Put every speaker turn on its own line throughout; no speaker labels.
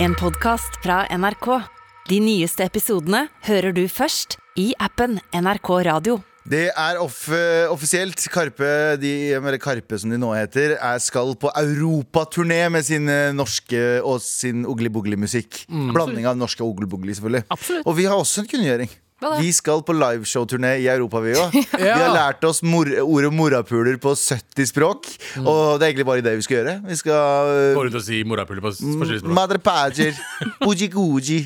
En podcast fra NRK. De nyeste episodene hører du først i appen NRK Radio.
Det er off eh, offisielt. Karpe, de, eller Karpe som de nå heter, er, skal på europaturné med sin eh, norske og sin oglibogli-musikk. Blanding av norsk og oglibogli, selvfølgelig.
Mm. Absolutt.
Og vi har også en kunngjøring.
Hva da?
Vi skal på liveshowturné i Europa, vi òg. Vi har lært oss mor ordet morapuler på 70 språk.
Mm.
Og det er egentlig bare det vi skal gjøre. Vi skal eh,
Gå rundt og si morapuler på s- forskjellige språk.
Madre pager, uji-guji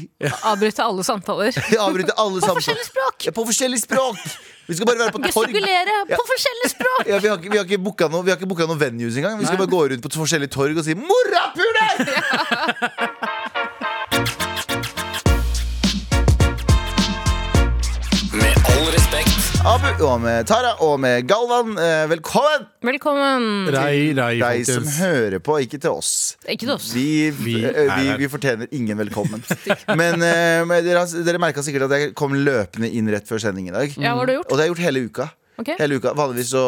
Avbryte alle samtaler.
Avbryte alle sammen.
forskjellige språk.
Ja, på forskjellige språk! Vi skal bare være på torg.
Gestikulere på forskjellige språk!
Ja, vi har ikke, vi har ikke booka noe- vi har ikke booka noen venues engang. Vi skal bare gå rundt på forskjellige torg og si 'morapuler'!
Med all respekt.
Abu og med Tara og med Galvan. eh, Velkommen
Velkommen.
Rei, rei,
deg som
folkens.
hører på, ikke til oss.
Ikke til oss.
Vi,
Vi
eh,
er
vi,
her.
vi fortjener ingen velkommen. Men, eh, men dere, har- dere merka sikkert at jeg kom løpende inn rett før sending i dag.
Ja, hva har du
Og
gjort?
det har jeg gjort hele uka.
Ok.
Hele uka, Vanligvis så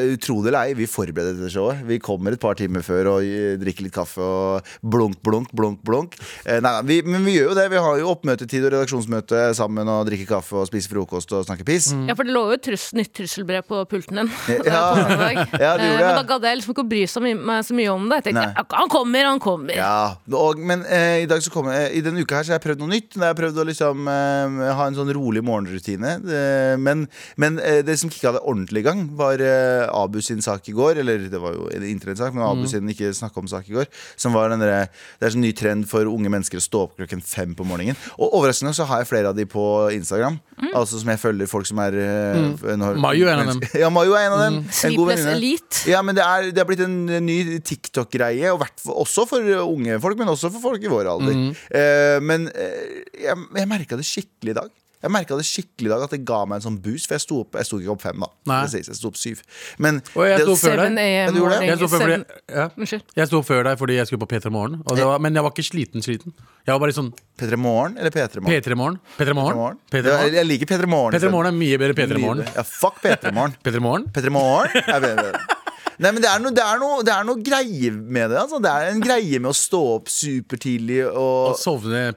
eh, tro det eller ei, vi forbereder dette showet. Vi kommer et par timer før og eh, drikker litt kaffe og blunk, blunk, blunk. blunk eh, Nei, nei, vi, Men vi gjør jo det. Vi har jo oppmøtetid og redaksjonsmøte sammen og drikker kaffe og spiser frokost og snakker piss.
Ja, for Det lå jo et trus nytt trusselbrev på pulten din.
Ja.
på mandag.
Ja, det gjorde
Eh,
jeg.
Men da gadd jeg liksom ikke å bry så mye- meg så mye om det. Jeg tenkte,
Nei.
"Ja, Han kommer, han kommer.
Ja, og, men eh, i, dag så kom, jeg- i denne uka her så har jeg prøvd noe nytt. Jeg har prøvd å liksom eh, ha en sånn rolig morgenrutine. Eh, men men eh, det som kicka det ordentlig i gang, var eh, Abu sin sak i går. Eller det var jo en internettsak, men
Mm.
Abu sin ikke snakka om sak i går. Som var den derre Det er sånn ny trend for unge mennesker å stå opp klokken fem på morgenen. Og overraskende så har jeg flere av de på Instagram. Altså som jeg følger folk som er eh, når-
Mayu Mm. er en av dem. Mm.
Ja, Mayu er en av dem. En god
Sleepless
venninne.
Elite.
Ja, men det er, det er blitt en ny TikTok-greie, og hvert- også for unge folk, men også for folk i vår alder.
Mm.
Eh, men eh, jeg, jeg merka det skikkelig i dag. Jeg merket det skikkelig i dag At det ga meg en sånn boost, for jeg sto, opp, jeg sto ikke opp fem, da.
Nei.
Det sies, jeg sto opp syv. Men
Og jeg
det-
sto før
7
deg.
AM
Ja, du gjorde det.
Jeg sto
morning.
opp før,
Seven-
fordi- ja.
Unnskyld.
Jeg sto opp før deg fordi jeg skulle på P3 Morgen. og det var- Men jeg var ikke sliten. sliten Jeg var bare sånn
P3 Morgen eller P3 Morgen?
P3 Morgen. P3 Morgen.
Det
P3
var- Jeg,
Morgen.
jeg liker P3 Morgen.
P3 Morgen er mye bedre P3 Morgen.
Ja, fuck P3 Morgen.
P3 Morgen.
Petter Morgen? Jeg vet ikke. Nei, men det er, noe, det, er noe, det er noe greie med det. Altså. Det er en greie med å stå opp supertidlig og
Og sovne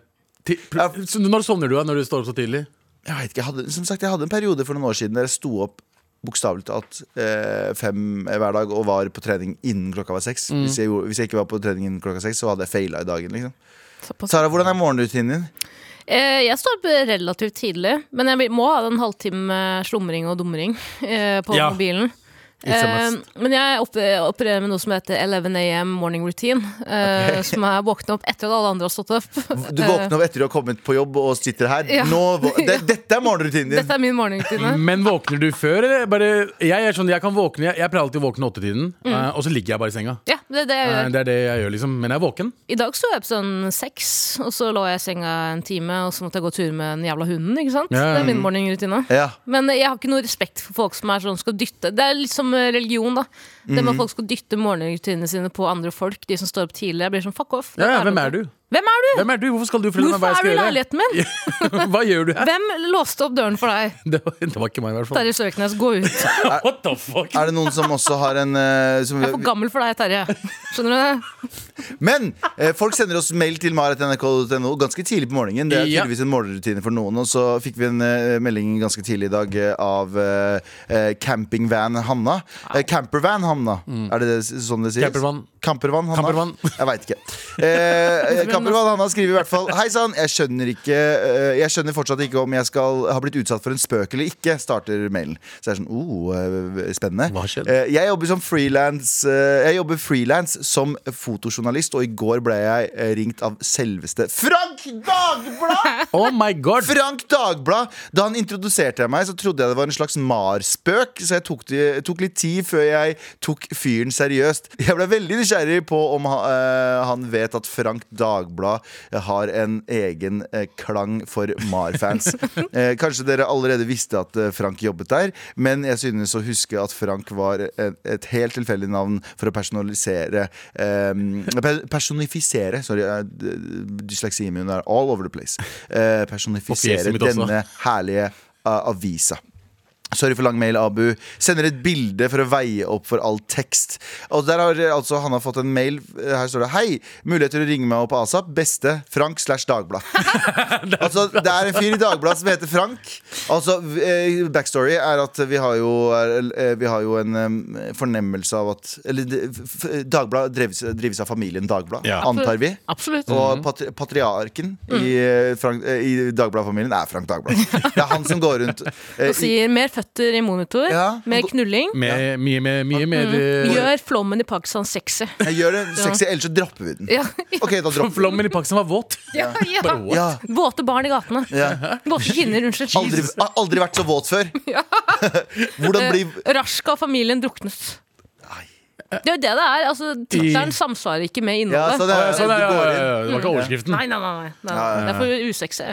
ti- pl-
Ja.
Så Når sovner du da, når du står opp så tidlig?
Jeg vet ikke, jeg hadde, Som sagt, jeg hadde en periode for noen år siden der jeg sto opp bokstavelig talt eh, fem hver dag og var på trening innen klokka var seks.
Mm.
Hvis, jeg, gjorde- hvis jeg ikke var på trening innen klokka seks, så hadde jeg feila i dagen. liksom
Såpass.
Sara, hvordan er morgenrutinen din?
Eh, Jeg står opp relativt tidlig, men jeg vil- må ha en halvtime med slumring og dumring eh, på
Ja.
mobilen.
It's a
Eh,
must.
men jeg opp- opererer med noe som heter 11 AM morning routine. Eh, som er våkne opp etter at alle andre har stått opp.
Du våkner opp etter du har kommet på jobb og sitter her.
eh, Ja.
Nå, vå- det, dette er morgenrutinen din!
Eh, Dette er min morgenrutine.
Men våkner du før, eller? Bare, jeg, er sånn, jeg, kan våkne, jeg, jeg pleier alltid å våkne åttetiden, eh, og så ligger jeg bare i senga.
Ja, det er det jeg
Eh,
gjør.
Det er det jeg gjør, liksom. Men jeg er våken.
I dag sto jeg opp sånn seks, og så lå jeg i senga en time, og så måtte jeg gå tur med den jævla hunden, ikke sant?
Ja.
Det er min morgenrutine.
Ja.
Men jeg har ikke noe respekt for folk som er sånn skal dytte Det er litt som religion, da. Det
Mm.
med at folk skal dytte morgenrutinene sine på andre folk, de som står opp tidlig. Jeg blir sånn fuck off.
Ja, ja, hvem er du?
Hvem er du?
Hvem er du? Hvorfor skal du fortelle meg
Hvorfor
hva jeg
er du
skal gjøre?
i leiligheten min?
Hva gjør du her?
Hvem låste opp døren for deg?
Det var, det var ikke meg, i hvert fall.
Terje Søknes, gå ut. Jeg
What the fuck?
Er det noen som også har en eh, som,
er for gammel for deg, Terje. Skjønner du det?
Men eh, folk sender oss mail til maret.nrk.no ganske tidlig på morgenen. Det er
Ja.
tydeligvis en morgenrutine for noen. Og så fikk vi en eh, melding ganske tidlig i dag eh, av eh, eh, campingvan Hanna. Eh, campervan Hanna, er det det, s- sånn det sies?
Mm. Campervan.
Campervan Hanna?
Campervan.
Jeg veit ikke. Eh, eh, campervan Hanna skriver i hvert fall Hei sann, jeg skjønner ikke eh, Jeg skjønner fortsatt ikke om jeg skal ha blitt utsatt for en spøk eller ikke, starter mailen. Så jeg er sånn oh, eh, spennende.
Hva skjedde?
Eh, jeg jobber som freelance eh, Jeg jobber freelance som fotojournalist, og i går ble jeg eh, ringt av selveste Frank Dagblad!
Oh my god!
Frank Dagblad! Da han introduserte meg, så trodde jeg det var en slags marspøk, så jeg tok, det, tok litt tid før jeg tok fyren seriøst. Jeg ble veldig nysgjerrig på om ha, eh, han vet at Frank Dagblad har en egen eh, klang for Mar-fans. eh, kanskje dere allerede visste at eh, Frank jobbet der, men jeg synes å huske at Frank var et, et helt tilfeldig navn for å personalisere eh, pe- Personifisere, sorry, eh, d- dysleksien min er all over the place. Eh, personifisere
Og fjeset mitt også.
denne herlige eh, avisa. Sorry for lang mail, Abu. Sender et bilde for å veie opp for all tekst. Og der har eh, altså Hanna fått en mail. eh, Her står det 'Hei, mulighet til å ringe meg opp ASAP'. Beste Frank slash Dagblad. altså, det er en fyr i Dagbladet som heter Frank. Altså, v- eh, Backstory er at vi har jo, er, eh, vi har jo en eh, fornemmelse av at Eller det- f- f- Dagbladet drives, drives av familien Dagblad,
Ja.
antar vi.
Absolutt.
Og patri patriarken
Mm.
i, eh, Frank- eh, i Dagbladet-familien er Frank Dagblad. Det er han som går rundt eh,
Og sier mer føtter i monitor,
Ja.
mer knulling.
Med, mye, mye, mye mer eh,
Gjør flommen i Pakistan sexy.
Jeg gjør det sexy, ellers så dropper vi den.
Ja.
Ok, da dropper vi den.
Flommen i Pakistan var våt.
Mm. Ja, ja.
Bare what?
Ja,
Våte barn i gatene.
ja.
Våte kvinner, unnskyld.
Aldri, har aldri vært så våt før. Hvordan blir
Eh, Rashka og familien druknet.
Nei.
Det er jo det det er. Altså, Tittelen samsvarer ikke med
ja,
innholdet.
så det,
Ja, sånn,
du
ja, ja,
går
ja,
inn.
ja. Det var ikke overskriften.
Mm. Nei, nei, nei. nei. nei.
ja, ja.
Det er for usexy.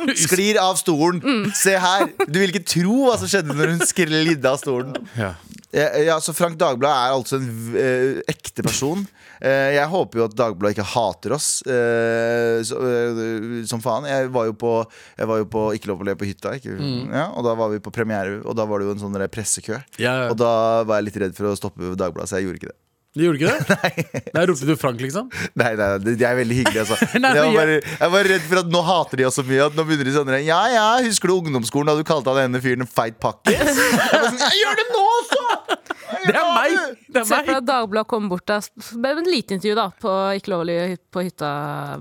Rem, sklir av stolen.
Mm.
Se her! Du vil ikke tro hva som skjedde når hun sklidde av stolen.
Ja.
Ja, Eh, ja, så Frank Dagblad er altså en eh, ekte person. Eh, jeg håper jo at Dagbladet ikke hater oss eh, så, eh, som faen. Jeg var jo på, jeg var jo på Ikke lov å le på hytta, ikke?
Mm.
Ja, og da var vi på premiere, og da var det jo en sånn der pressekø.
Ja, ja.
Og da var jeg litt redd for å stoppe Dagbladet, så jeg gjorde ikke det.
Du gjorde ikke det? Nei. Der ropte du Frank, liksom?
Nei, nei, det de er veldig hyggelige, altså.
Nei,
jeg, var bare,
jeg-
jeg var redd for at nå hater de oss så mye at nå begynner de sånn Ja, ja, husker du ungdomsskolen da du kalte han ene fyren en feit pakke? Jeg, bare sånn, jeg gjør det nå også! Jeg gjør
Det er meg!
nå!
Det
Se
er meg.
for deg Dagbladet kom bort da, med en liten intervju da, på Ikke lov å le på hytta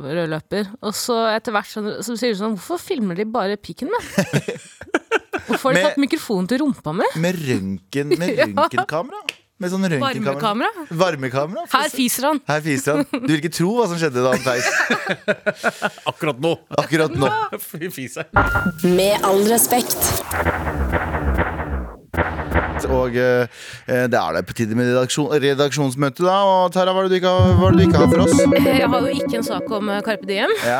rød løper. Og så etter hvert så, så sier du sånn Hvorfor filmer de bare pikken med? Hvorfor har de
Med-
tatt mikrofonen til rumpa mi?
Med røntgen, med røntgenkamera. Med sånn røntgenkamera.
Varmekamera?
Varmekamera.
Her fiser han!
Her fiser han. Du vil ikke tro hva som skjedde da han feis
Akkurat nå.
akkurat nå.
Fy fise.
Med all respekt.
Og eh, det er det på tide med redaksjon, redaksjonsmøte, da. Og Tara, hva er det du ikke har, hva er det du ikke har for oss?
Jeg har jo ikke en sak om eh, Carpe Diem.
Ja,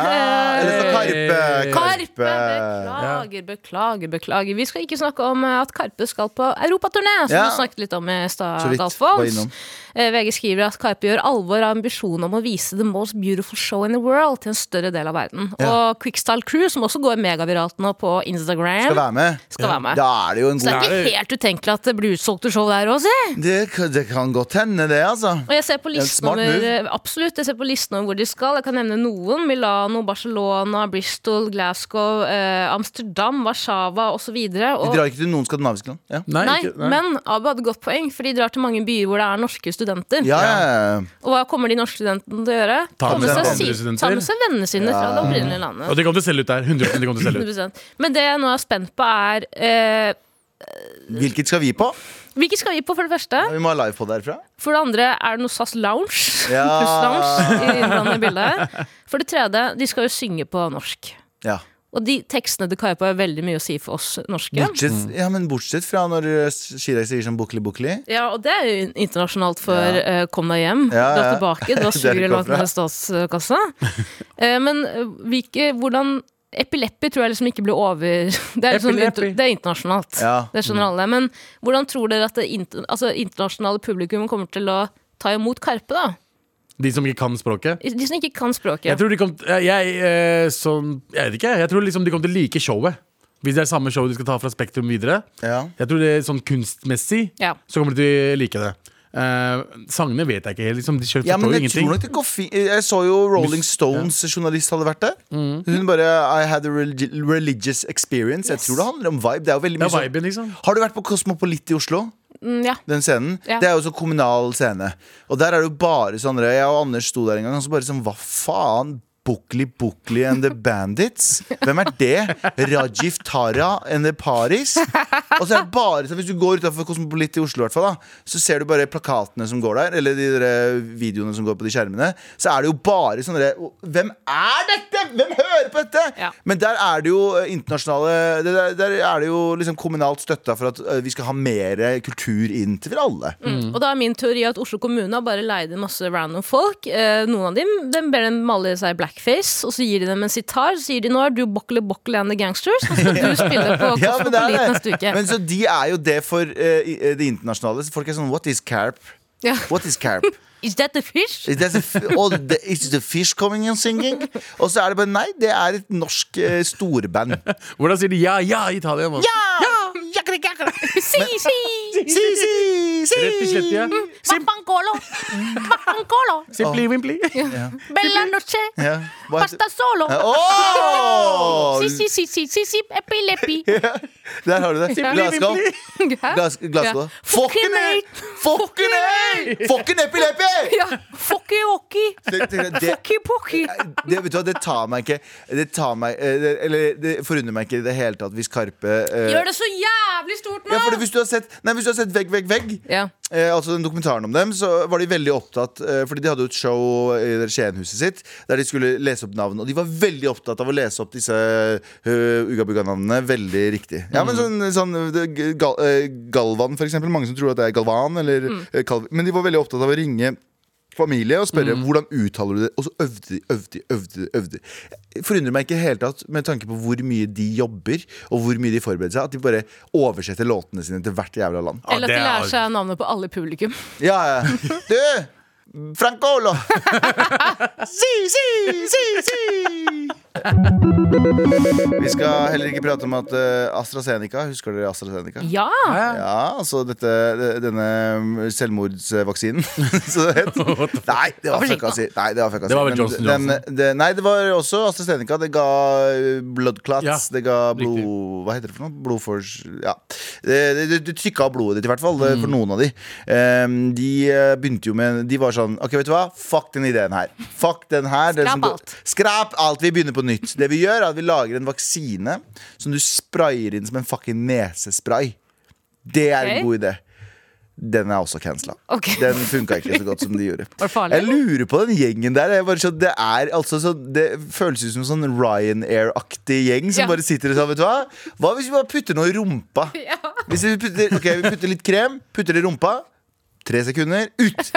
eller så Karpe.
Karpe! Beklager, beklager, beklager. Vi skal ikke snakke om eh, at Karpe skal på europaturné, som
Ja.
vi snakket litt om i
Så
stad.
vidt,
Galf
var
Walls.
innom.
Eh, VG skriver at Karpe gjør alvor av ambisjonen om å vise the most beautiful show in the world til en større del av verden.
Ja.
Og Quickstyle Crew, som også går megaviralt nå på Instagram,
Skal være med.
skal være med.
Da er det jo en
Så det
god
er ikke helt utenkelig at det blir utsolgte show der òg, si.
det, kan- det kan godt hende, det, altså.
Og jeg ser
er
på
et
listen
smart
over
move.
eh, Absolutt, jeg ser på listen over hvor de skal. Jeg kan nevne noen. Milano, Barcelona, Bristol, Glasgow, eh, Amsterdam, Warszawa osv.
De
Og
drar ikke til noen skandinaviske land. Ja.
Nei,
Nei,
ikke, nei.
men Abu hadde godt poeng, for de drar til mange byer hvor det er norske studenter.
Ja, ja, ja.
Og hva kommer de norske studentene til å gjøre?
Ta med
seg
si-
andre studenter.
ta med seg vennene sine fra det opprinnelige landet.
Og de kom til å selge ut der. 100 de kom til å selge ut.
100%. Men det jeg nå er spent på, er eh,
Hvilket skal vi på?
Hvilke skal vi på, for det første?
Vi må ha livepod herfra.
For det andre, er det noe SAS Lounge?
Ja.
Pluss Lounge i innblandet i bildet. her. For det tredje, de skal jo synge på norsk.
Ja.
Og de tekstene til Kaipa har veldig mye å si for oss norske.
Bortsett,
Mm.
ja, men bortsett fra når eh, Chirag sier sånn bukli bukli.
Ja, og det er jo internasjonalt for
Ja.
eh, kom deg hjem,
Ja,
dra
ja.
tilbake,
Der
dra
det
sugerør
kom
langt
fra.
ned i statskassa. Eh, men eh, hvilke, hvordan Epileppi tror jeg liksom ikke blir over Det er, liksom,
Epileppi.
det er internasjonalt.
Ja.
Det skjønner alle. Men hvordan tror dere at det inter, altså, internasjonale publikum kommer til å ta imot Karpe, da?
De som ikke kan språket.
De som ikke kan språket.
Jeg tror de kom jeg, eh, sånn, jeg vet ikke, jeg tror liksom de kom til å like showet. Hvis det er samme show de skal ta fra Spektrum videre.
Ja.
Jeg tror det er sånn kunstmessig
Ja.
så kommer de til å like det. Eh, sangene vet jeg ikke helt. Liksom, de skjønner
Ja, men
forstår jo
jeg, tror
ingenting.
nok det går fint. jeg så jo Rolling
Mus-
Stones journalist hadde vært der. Hun bare I had a religi- religious experience. Jeg tror det handler om vibe. Det er jo veldig
Det
mye
er
sånn-
viben, liksom.
Har du vært på Kosmopolit i Oslo?
Mm, ja.
Den scenen
Ja.
Det er jo så kommunal scene. Og der er det jo bare sånn Jeg og Anders sto der en gang og så bare sånn Hva faen? Bukli Bukli and the Bandits? Hvem er det? Rajiv Tara and the Paris? Og så er det bare sånn Hvis du går utafor Kosmopolit i Oslo, i hvert fall, da, så ser du bare plakatene som går der, eller de der eh, videoene som går på de skjermene, så er det jo bare sånn der, Hvem er dette?! Hvem hører på dette?!
Ja.
Men der er det jo eh, internasjonale det- Der, der er det jo liksom kommunalt støtta for at eh, vi skal ha mer kultur inn til alle.
Og da er min teori at Oslo kommune har bare leid inn masse random folk. Eh, noen av dem dem ber dem male seg blackface, og så gir de dem en sitar. Så sier de nå er du Buckley Buckley and the Gangsters, og så skal du spille på
Ja, men det er
Cosmopolit
det.
neste uke.
Men så de er jo det for eh, i- eh, det internasjonale. Så folk er sånn What is carp?
Ja.
What is carp?
Is that the fish?
Is, that the f- oh, the, is the fish coming and singing? Og så er det bare Nei, det er et norsk eh, storband.
Hvordan sier de ja, ja i Italia? Man?
Ja! Jakri, jakri.
Si, si!
Si, si, si!
Rett i slett, ja.
Mapancolo! Mapancolo!
Simpli, vimpli.
Bella noche!
ja. Hva-
Pasta solo!
Ja, åh!
Si, si, si, si, si, si, epi, lepi.
Der har du det.
Ja.
Glasgow.
Hæ?
Glass, Glasgow.
Ja.
Fucking hey! Fucking hey! Fucking epilepi!
Ja, Fucky wocky,
Det, det, det,
fucky pocky.
det, vet du hva, det tar meg ikke Det tar meg eh, det, Eller det forundrer meg ikke i det hele tatt hvis Karpe eh,
Gjør det så jævlig stort nå!
Ja, fordi hvis du har sett, nei, hvis du har sett Vegg, vegg, vegg
Ja.
eh, Altså den dokumentaren om dem Så var de veldig opptatt eh, Fordi de hadde jo et show i det Skienhuset sitt Der de skulle lese opp navn Og de var veldig opptatt av å lese opp disse uh, navnene Veldig riktig Ja, men sånn, sånn det- gal, eh, Galvan for eksempel Mange som tror at det er Galvan eller, eh, Kalv, Men de var veldig opptatt av å ringe familie og spørre hvordan uttaler du det. Og så øvde de, øvde de, øvde de. øvde de. Jeg Forundrer meg ikke i det hele tatt med tanke på hvor mye de jobber og hvor mye de forbereder seg, at de bare oversetter låtene sine til hvert jævla land.
Eller at
det
de
er-
lærer seg navnet på alle i publikum.
Ja, ja. Du! Franco Olo! si, si, si, si! Vi skal heller ikke prate om at eh, AstraZeneca Husker dere AstraZeneca?
Ja!
Ja, altså dette, denne selvmordsvaksinen, som det het. Nei, det var fucka si. Nei, det var, fucka
Det var vel
si. Men
Johnson
den-
Johnson.
det, nei, det var også AstraZeneca. Det ga eh, blood clots.
Ja,
det ga blod...
riktig.
Hva heter det for noe? Blodfors... Ja. Det, det, det, det trykka av blodet ditt, i hvert fall. eh,
Mm.
For noen av de. Ehm, de eh, begynte jo med De var sånn OK, vet du hva? Fuck den ideen her. Fuck den her. den
Skrap
som går-
alt.
Skrap alt. Vi begynner på nytt. Det vi gjør, er at vi lager en vaksine som du sprayer inn som en fucking nesespray. Det er
Ok.
en god idé. Den er også cancela.
Ok.
Den funka ikke så godt som de gjorde.
Var det farlig?
Jeg lurer på den gjengen der. Jeg bare, så det, er, altså, så, det føles ut som en sånn Ryanair-aktig gjeng som
Ja.
bare sitter og sa Vet du hva? Hva hvis vi bare putter noe i rumpa? Hvis vi putter, ok, vi putter litt krem, putter det i rumpa. Tre sekunder, ut!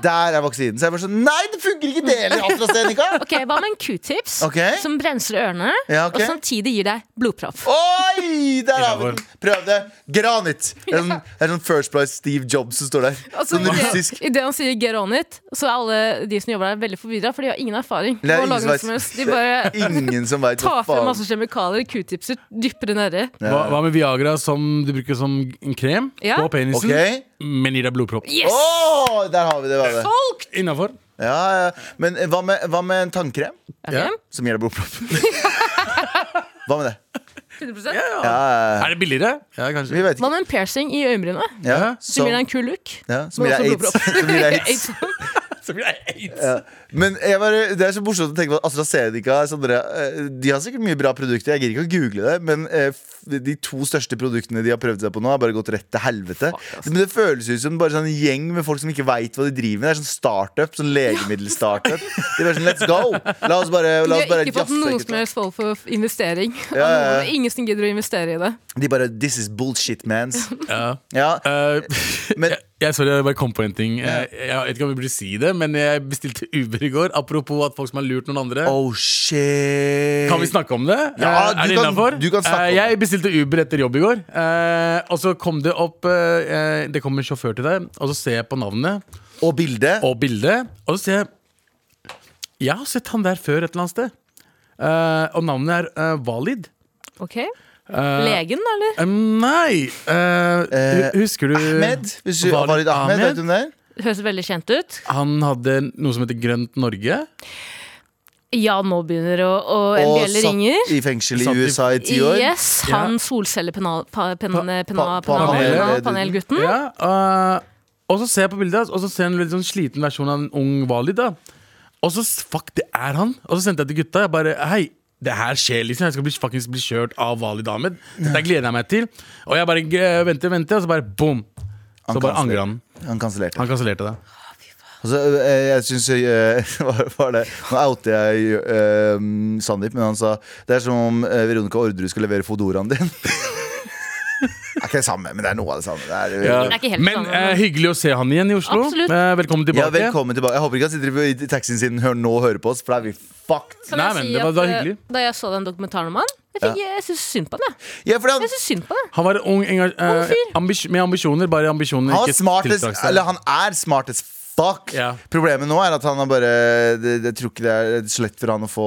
Der er vaksinen. Så jeg bare sånn Nei, det funker ikke, det heller, AstraZeneca!
Ok, Hva med en q-tips
Ok.
som renser ørene
Ja, ok.
og samtidig gir deg blodpropp?
Oi! Der har vi
Innafor.
den. Prøv det. Granit. Det er sånn, det er sånn First Price Steve Jobs som står der.
Altså,
Sånn
i
russisk.
det- I det han sier 'get on it', så er alle de som jobber der, veldig forvirra, for de har ingen erfaring.
Det er
Hva
ingen
lager
som
de
vet-
som helst. De bare
Ingen som veit
tar frem masse kjemikalier, q-tipser, dypper det nedi.
Hva, hva med Viagra som du bruker som en krem
Ja.
på penisen,
Ok.
men gir deg blodpropp?
Yes!
Åh, der har vi det. Bare.
Solgt!
Innafor.
Ja, ja. Men eh, hva med, hva med en tannkrem
Ja.
som gir deg blodpropp? Hva med det?
100%.
Ja, ja, ja.
Er det billigere? Ja, kanskje.
vi vet
Hva
ikke.
med en piercing i øyebrynene?
Ja,
Som
så-
gir deg en kul look?
ja, som
men
gir deg
også
aids.
blodpropp.
Som gir deg aids.
Aids.
Så blir det aids.
Ja. Men jeg bare, det er så morsomt å tenke på at AstraZeneca er sånn dere, eh, De har sikkert mye bra produkter, jeg gidder ikke å google det. Men eh, f- de to største produktene de har prøvd seg på nå, har bare gått rett til helvete. Men det føles ut som bare sånn en gjeng med folk som ikke veit hva de driver med. Det er sånn startup, sånn legemiddelstartup. De er bare sånn, let's go! La oss bare,
De
la
har
oss bare
ikke fått
jaffe,
noen
gutta.»
som helst form for investering.
Ja, ja, ja.
Og noen- Ingen som gidder å investere i det.
De bare This is bullshit, mans.
Ja.
Ja,
Eh,
men
jeg, jeg, sorry, jeg bare kom på en ting. Jeg, jeg vet ikke om jeg burde si det, men jeg bestilte Uber i går. Apropos at folk som har lurt noen andre.
Oh shit.
Kan vi snakke om det?
Ja, du
Eh, er det
kan-
innenfor?
du kan snakke om
Eh, Jeg bestilte Uber etter jobb i går. eh, og så kom det opp eh, eh, Det kom en sjåfør til deg, og så ser jeg på navnet
Og bildet.
og bildet. Og så ser jeg Jeg har sett han der før et eller annet sted. Eh, og navnet er eh, Valid.
Ok?
Eh,
Legen, eller?
eh, nei eh,
Eh,
hu- Husker du
Ahmed. Hvis du,
Walid
Walid Ahmed, vet du hvem det er?
Høres veldig kjent ut.
Han hadde noe som heter Grønt Norge.
Ja, nå begynner å, å en
Og
bjelle
satt
ringer.
i fengsel i
Satt i-
USA i ti år.
Yes, han
pa- panel-
solcellepanelgutten.
eh, Ja, øh, og så ser jeg på bildet hans, og så ser jeg en litt sånn sliten versjon av en ung Walid. da Og så s- fuck, det er han! Og så sendte jeg til gutta. Jeg bare, hei det her skjer liksom, Jeg skal bli, faktisk bli kjørt av Walid Ahmed. Dette gleder jeg meg til. Og jeg bare g- venter, venter, og så bare boom! Så bare angrer han.
Han kansellerte.
Han kansellerte det.
Altså, eh, jeg syns Hva var det? Nå outer jeg eh, Sandeep, men han sa det er som om eh, Veronica Orderud skal levere Fodoraen din. det er ikke det samme, men det er noe av det samme. Det er,
er ikke helt
Men
sånn,
eh, hyggelig å se han igjen i Oslo.
Absolutt.
Eh, velkommen tilbake.
ja, velkommen tilbake. Jeg håper ikke han sitter i taxien sin hør, nå og hører på oss, for da er vi fucked.
Kan
Nei,
jeg
men
si
det var-
at,
det var
eh,
hyggelig.
Da jeg så den dokumentaren om han, jeg, fikk, jeg synes synd på han. Jeg,
Ja, fordi han,
jeg synes synd på han.
Han var ung, enga- eh,
Ung fyr.
ambis med ambisjoner, bare ambisjoner
han, var
ikke
smart as,
tiltrakk seg.
eller han er smart as fuck.
Ja.
Problemet nå er at han har bare det, Jeg tror ikke det er så lett for han å få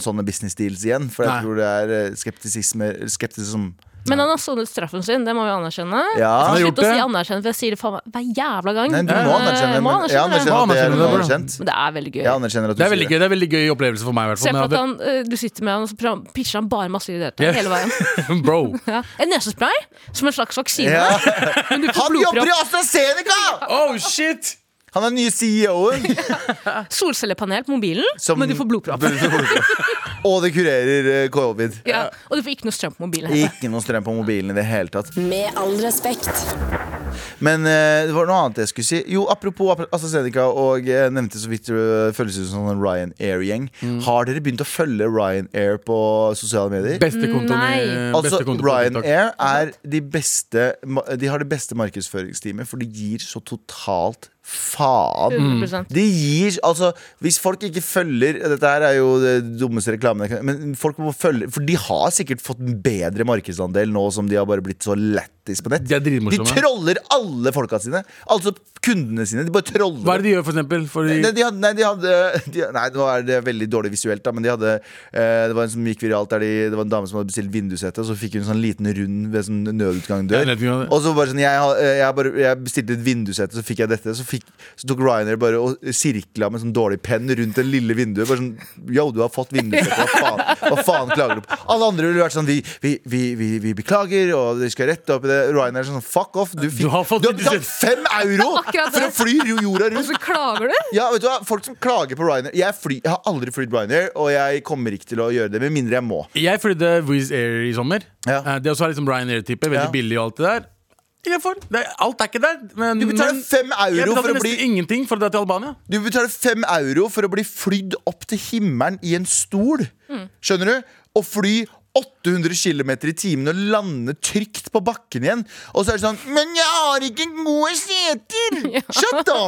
sånne business deals igjen. For jeg
Nei.
tror det er eh, skeptisisme Skeptisism
Men han har sonet straffen sin, det må vi anerkjenne.
Ja.
Han har
Slutt
gjort
å
det.
si anerkjenne, for jeg sier det faen meg hver jævla gang.
Nei, du må
Eh,
anerkjenne det.
må
Men, jeg
anerkjenne det.
anerkjenner at det er
Anerkjenner det,
anerkjent.
Men det er veldig gøy.
Jeg anerkjenner at du
Det er veldig
sier det.
gøy det er veldig gøy opplevelse for meg, i hvert
Se
fall.
for at
Men jeg
han, eh, du sitter med han, og så pra- pitcher han bare masse idretter
Ja.
hele veien.
hadde, bro.
Ja. En nesespray som en slags vaksine.
Ja.
Men du får
Han jobber i
blodpropp.
AstraZeneca!
Oh, shit!
Han er den nye CEO-en.
Solcellepanel på mobilen,
som-
men du får blodpropp.
Og det kurerer eh, covid.
Ja. Og du får ikke noe strøm på mobilen. heller.
Ikke noe strøm på mobilen i det hele tatt.
Med all respekt.
Men eh, det var noe annet jeg skulle si. Jo, Apropos ap- AstraZeneca, og jeg nevnte så vidt det føles ut som en Ryanair-gjeng. Har dere begynt å følge Ryanair på sosiale medier?
Beste kontoen i
Nei.
Altså,
Eh, beste kontoen på TikTok.
Ryanair er de beste ma- De har det beste markedsføringsteamet, for de gir så totalt faen.
100%.
De gir, altså Hvis folk ikke følger Dette her er jo det dummeste reklamen jeg kan- Men folk må følge For de har sikkert fått en bedre markedsandel Nå som de har bare blitt så lettis på nett
De er dritmorsomme.
troller alle folka sine Altså kundene sine De bare troller
Hva er det de gjør, for eksempel? For de,
Nei, de hadde, nei, de hadde de, Nei, nå er det veldig dårlig visuelt, da, men de hadde eh, Det var en som gikk viralt der de, det var en dame som hadde bestilt vindussete, og så fikk hun en sånn liten rund ved sånn
Ja,
nødutgangdør.
nødutgang, ja.
og så bare sånn Jeg, har- eh, jeg, bare, jeg bestilte et vindussete, så fikk jeg dette. Så, fikk, så tok Ryanair bare og sirkla med sånn dårlig penn rundt det lille vinduet. Bare sånn Yo, du har fått vindussete, hva faen, hva faen klager du på? Alle andre ville vært sånn Vi, vi, vi, vi, vi beklager, og dere skal rette opp i det. Ryanair er sånn Fuck off, du fikk
Du har fått
betalt fem euro
Akkurat
for å
det.
fly jorda rundt!
Og så klager du?
Ja, vet du hva? Folk som klager på Ryanair Jeg, fly, jeg har aldri flytt Ryanair, og jeg kommer ikke til å gjøre det med mindre jeg må.
Jeg flydde Wizz Air i sommer.
Ja.
Eh, Det også er liksom Ryanair-type. Veldig
Ja.
billig og alt det der. Innenfor. Det, alt er ikke der. Men,
Du betaler
men-
fem
jeg
euro,
betalte
for å bli,
nesten ingenting for å dra til Albania.
du betaler fem euro for å bli flydd opp til himmelen i en stol.
Mm.
Skjønner du? Og fly 800 km i timen og lande trygt på bakken igjen. Og så er det sånn Men jeg har ikke gode seter! Shut the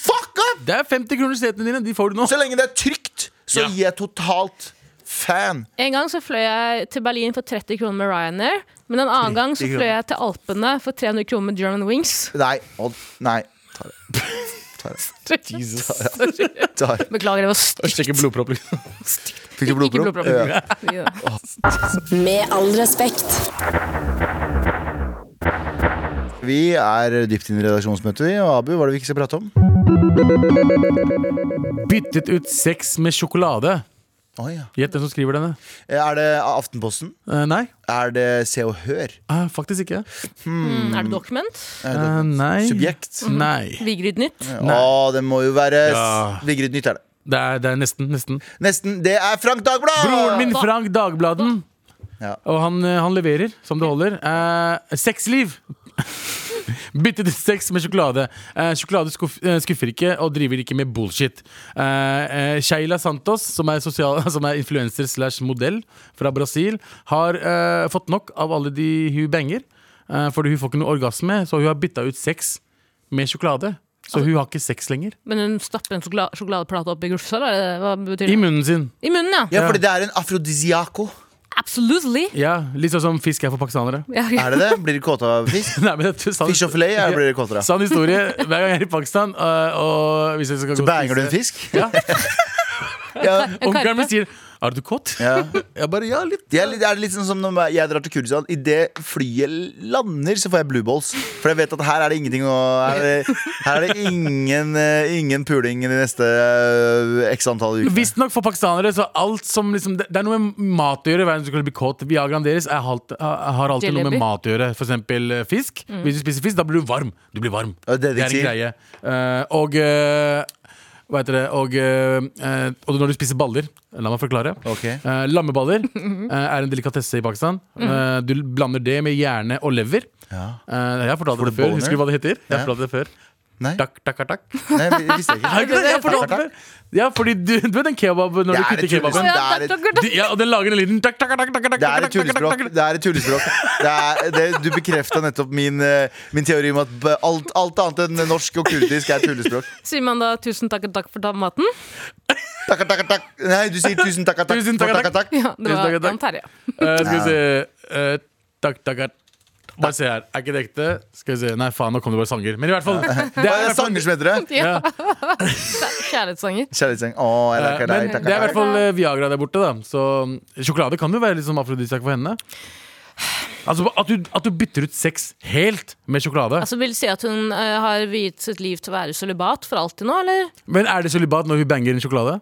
fuck up!
Det er 50 kroner setene dine. De får du nå.
Så lenge det er trygt, så
Ja.
gir jeg totalt fan.
En gang så fløy jeg til Berlin for 30 kroner med Ryanair. Men en annen gang så
30
fløy jeg til Alpene for 300 kroner med German Wings.
Nei. Odd, Nei. Ta det. Ta det. Ta det.
Beklager, det var stygt.
Sjekke blodpropp, liksom.
Fikk du
Ikke
blodpropp?
blodpropp.
Ja.
Ja.
Med all respekt.
Vi er dypt inn i redaksjonsmøtet, vi. Og Abu, hva er det vi ikke skal prate om?
Byttet ut sex med sjokolade.
Å, ja.
Gjett hvem som skriver denne.
Eh, Er det Aftenposten?
Eh, nei,
Er det Se og Hør?
Eh, faktisk ikke.
Mm, er det dokument?
Er det
Eh, nei.
Subjekt?
Nei.
Vigrid Nytt?
Å, det må jo være
Ja.
s- Vigrid Nytt er det.
Det er, det er nesten. nesten
Nesten. Det er Frank Dagblad!
Broren min Frank Dagbladen.
Ja.
Og han, eh, han leverer som det holder. Eh, sexliv! Byttet ut sex med sjokolade. Eh, sjokolade skuff, eh, skuffer ikke og driver ikke med bullshit. Eh, eh, Sheila Santos, som er, sosial, som er influenser slash modell fra Brasil, har eh, fått nok av alle de hun banger. Eh, fordi hun får ikke noe orgasme, så hun har bytta ut sex med sjokolade. Så hun har ikke sex lenger.
Men hun stapper en sjokola- sjokoladeplate opp i grussa? eller er det- Hva betyr
I
det?
munnen sin.
I munnen, ja.
Ja, fordi det er en afrodisiaco.
Absolutely!
Ja, Litt sånn som fisk er for pakistanere.
Ja, ja.
Er det det? Blir du kåt av fisk?
Nei, men det er sant.
Fish og filet er det blir du kåt av.
Sann historie. Hver gang jeg er i Pakistan øh, og hvis jeg skal
Så
gå og
banger du en
spise-
fisk?
Ja.
Ja.
Onkelen min sier 'Er du kåt?'
Ja.
Jeg bare 'ja, litt'.
Det er, litt, er det litt sånn som når jeg drar til Kurdistan Idet flyet lander, så får jeg blue balls. For jeg vet at her er det ingenting å Her er det, her er det ingen, eh, ingen puling de neste eh, x antall ukene.
Visstnok for pakistanere, så alt som liksom Det, det er noe med mat å gjøre. Hver gang du skal bli kåt Viagraen deres er halt, er- har alltid noe
Jalebi.
med mat å gjøre. For eksempel eh, fisk. Hvis du spiser fisk, da blir du varm. Du blir varm.
Ja, det er det
en
de
greie. Eh, og eh, hva heter det? Og, eh, eh, og når du spiser baller La meg forklare.
Ok.
Eh, lammeballer eh, er en delikatesse i Pakistan. Eh, du blander det med hjerne og lever. Eh, jeg har fortalt
Får du
det før.
boner?
Husker du hva det heter? Jeg
Ja.
har fortalt det før.
Nei,
Takk, takk, takk.
nei vi- visste jeg
Har
ikke.
ikke det? Jeg har fortalt det
Takk,
før. Ja, fordi du, du vet den kebab når
Det
du
er
kutter
et tullespråk.
kebaben?
Det er
Ja, takk,
et-
takk, takk.
De- Ja, og den lager en liten takk, takk, takk, takk, takk,
Det er et
takk, takk,
tullespråk.
takk, takk.
Det er et tullespråk. Det er, det, du bekrefta nettopp min, eh, min teori om at b- alt, alt annet enn norsk og kurdisk er tullespråk.
Sier man da 'tusen takk og takk for ta- maten'?
Takka, takka, takk. Nei, du sier tusen takka, takk.
Tusen takka,
takka, takk.
Ja, det
Tusen takk
var
og takk.
Jan Terje.
Eh, Skal vi se eh, Takk, takk, takk. Bare se her. Er ikke det ekte? Skal vi se. Nei, faen, nå kom det bare sanger. Men i hvert fall. Det
Det
er i
er
hvert fall
sanger som heter det.
Ja. Kjærlighetssanger.
Kjærlighetssang. Å, jeg
Eh,
liker
men
deg.
det
takka,
er i
takk.
liksom hvert fall eh, Viagra der borte, da. Så mm, sjokolade kan jo være litt som afrodisiak for henne. Altså at du, at du bytter ut sex helt med sjokolade.
Altså Vil si at hun eh, har viet sitt liv til å være sølibat for alltid nå, eller?
Men er det sølibat når hun banger en sjokolade?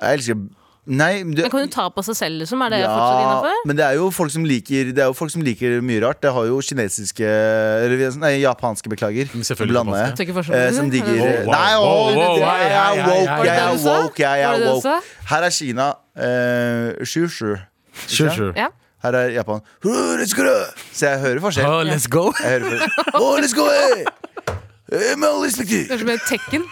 Jeg elsker Nei, men det,
Men kan hun ta på seg selv, liksom? Er det fortsatt
ja,
innafor?
men det er jo folk som liker Det er jo folk som liker mye rart. Det har jo kinesiske eller, Nei, japanske, beklager.
Men selvfølgelig
Blander jeg.
japanske.
Tenker forskjell.
Eh, som digger
Wow, wow,
Nei,
wow,
åh,
wow,
det-
hei,
jeg
hei,
er
hei,
woke,
hei.
jeg er
Var det det du sa?
woke. Jeg
Var det
er
det du
woke.
sa?
Her er Kina. eh, Sju, sju.
Sure, sure.
Ja.
Her er Japan. Hurra, let's go! Så jeg hører forskjell.
Oh, let's go.
Jeg hører forskjell. Åh, let's go, hey! Eh, Med all respekt
Kanskje med tekken?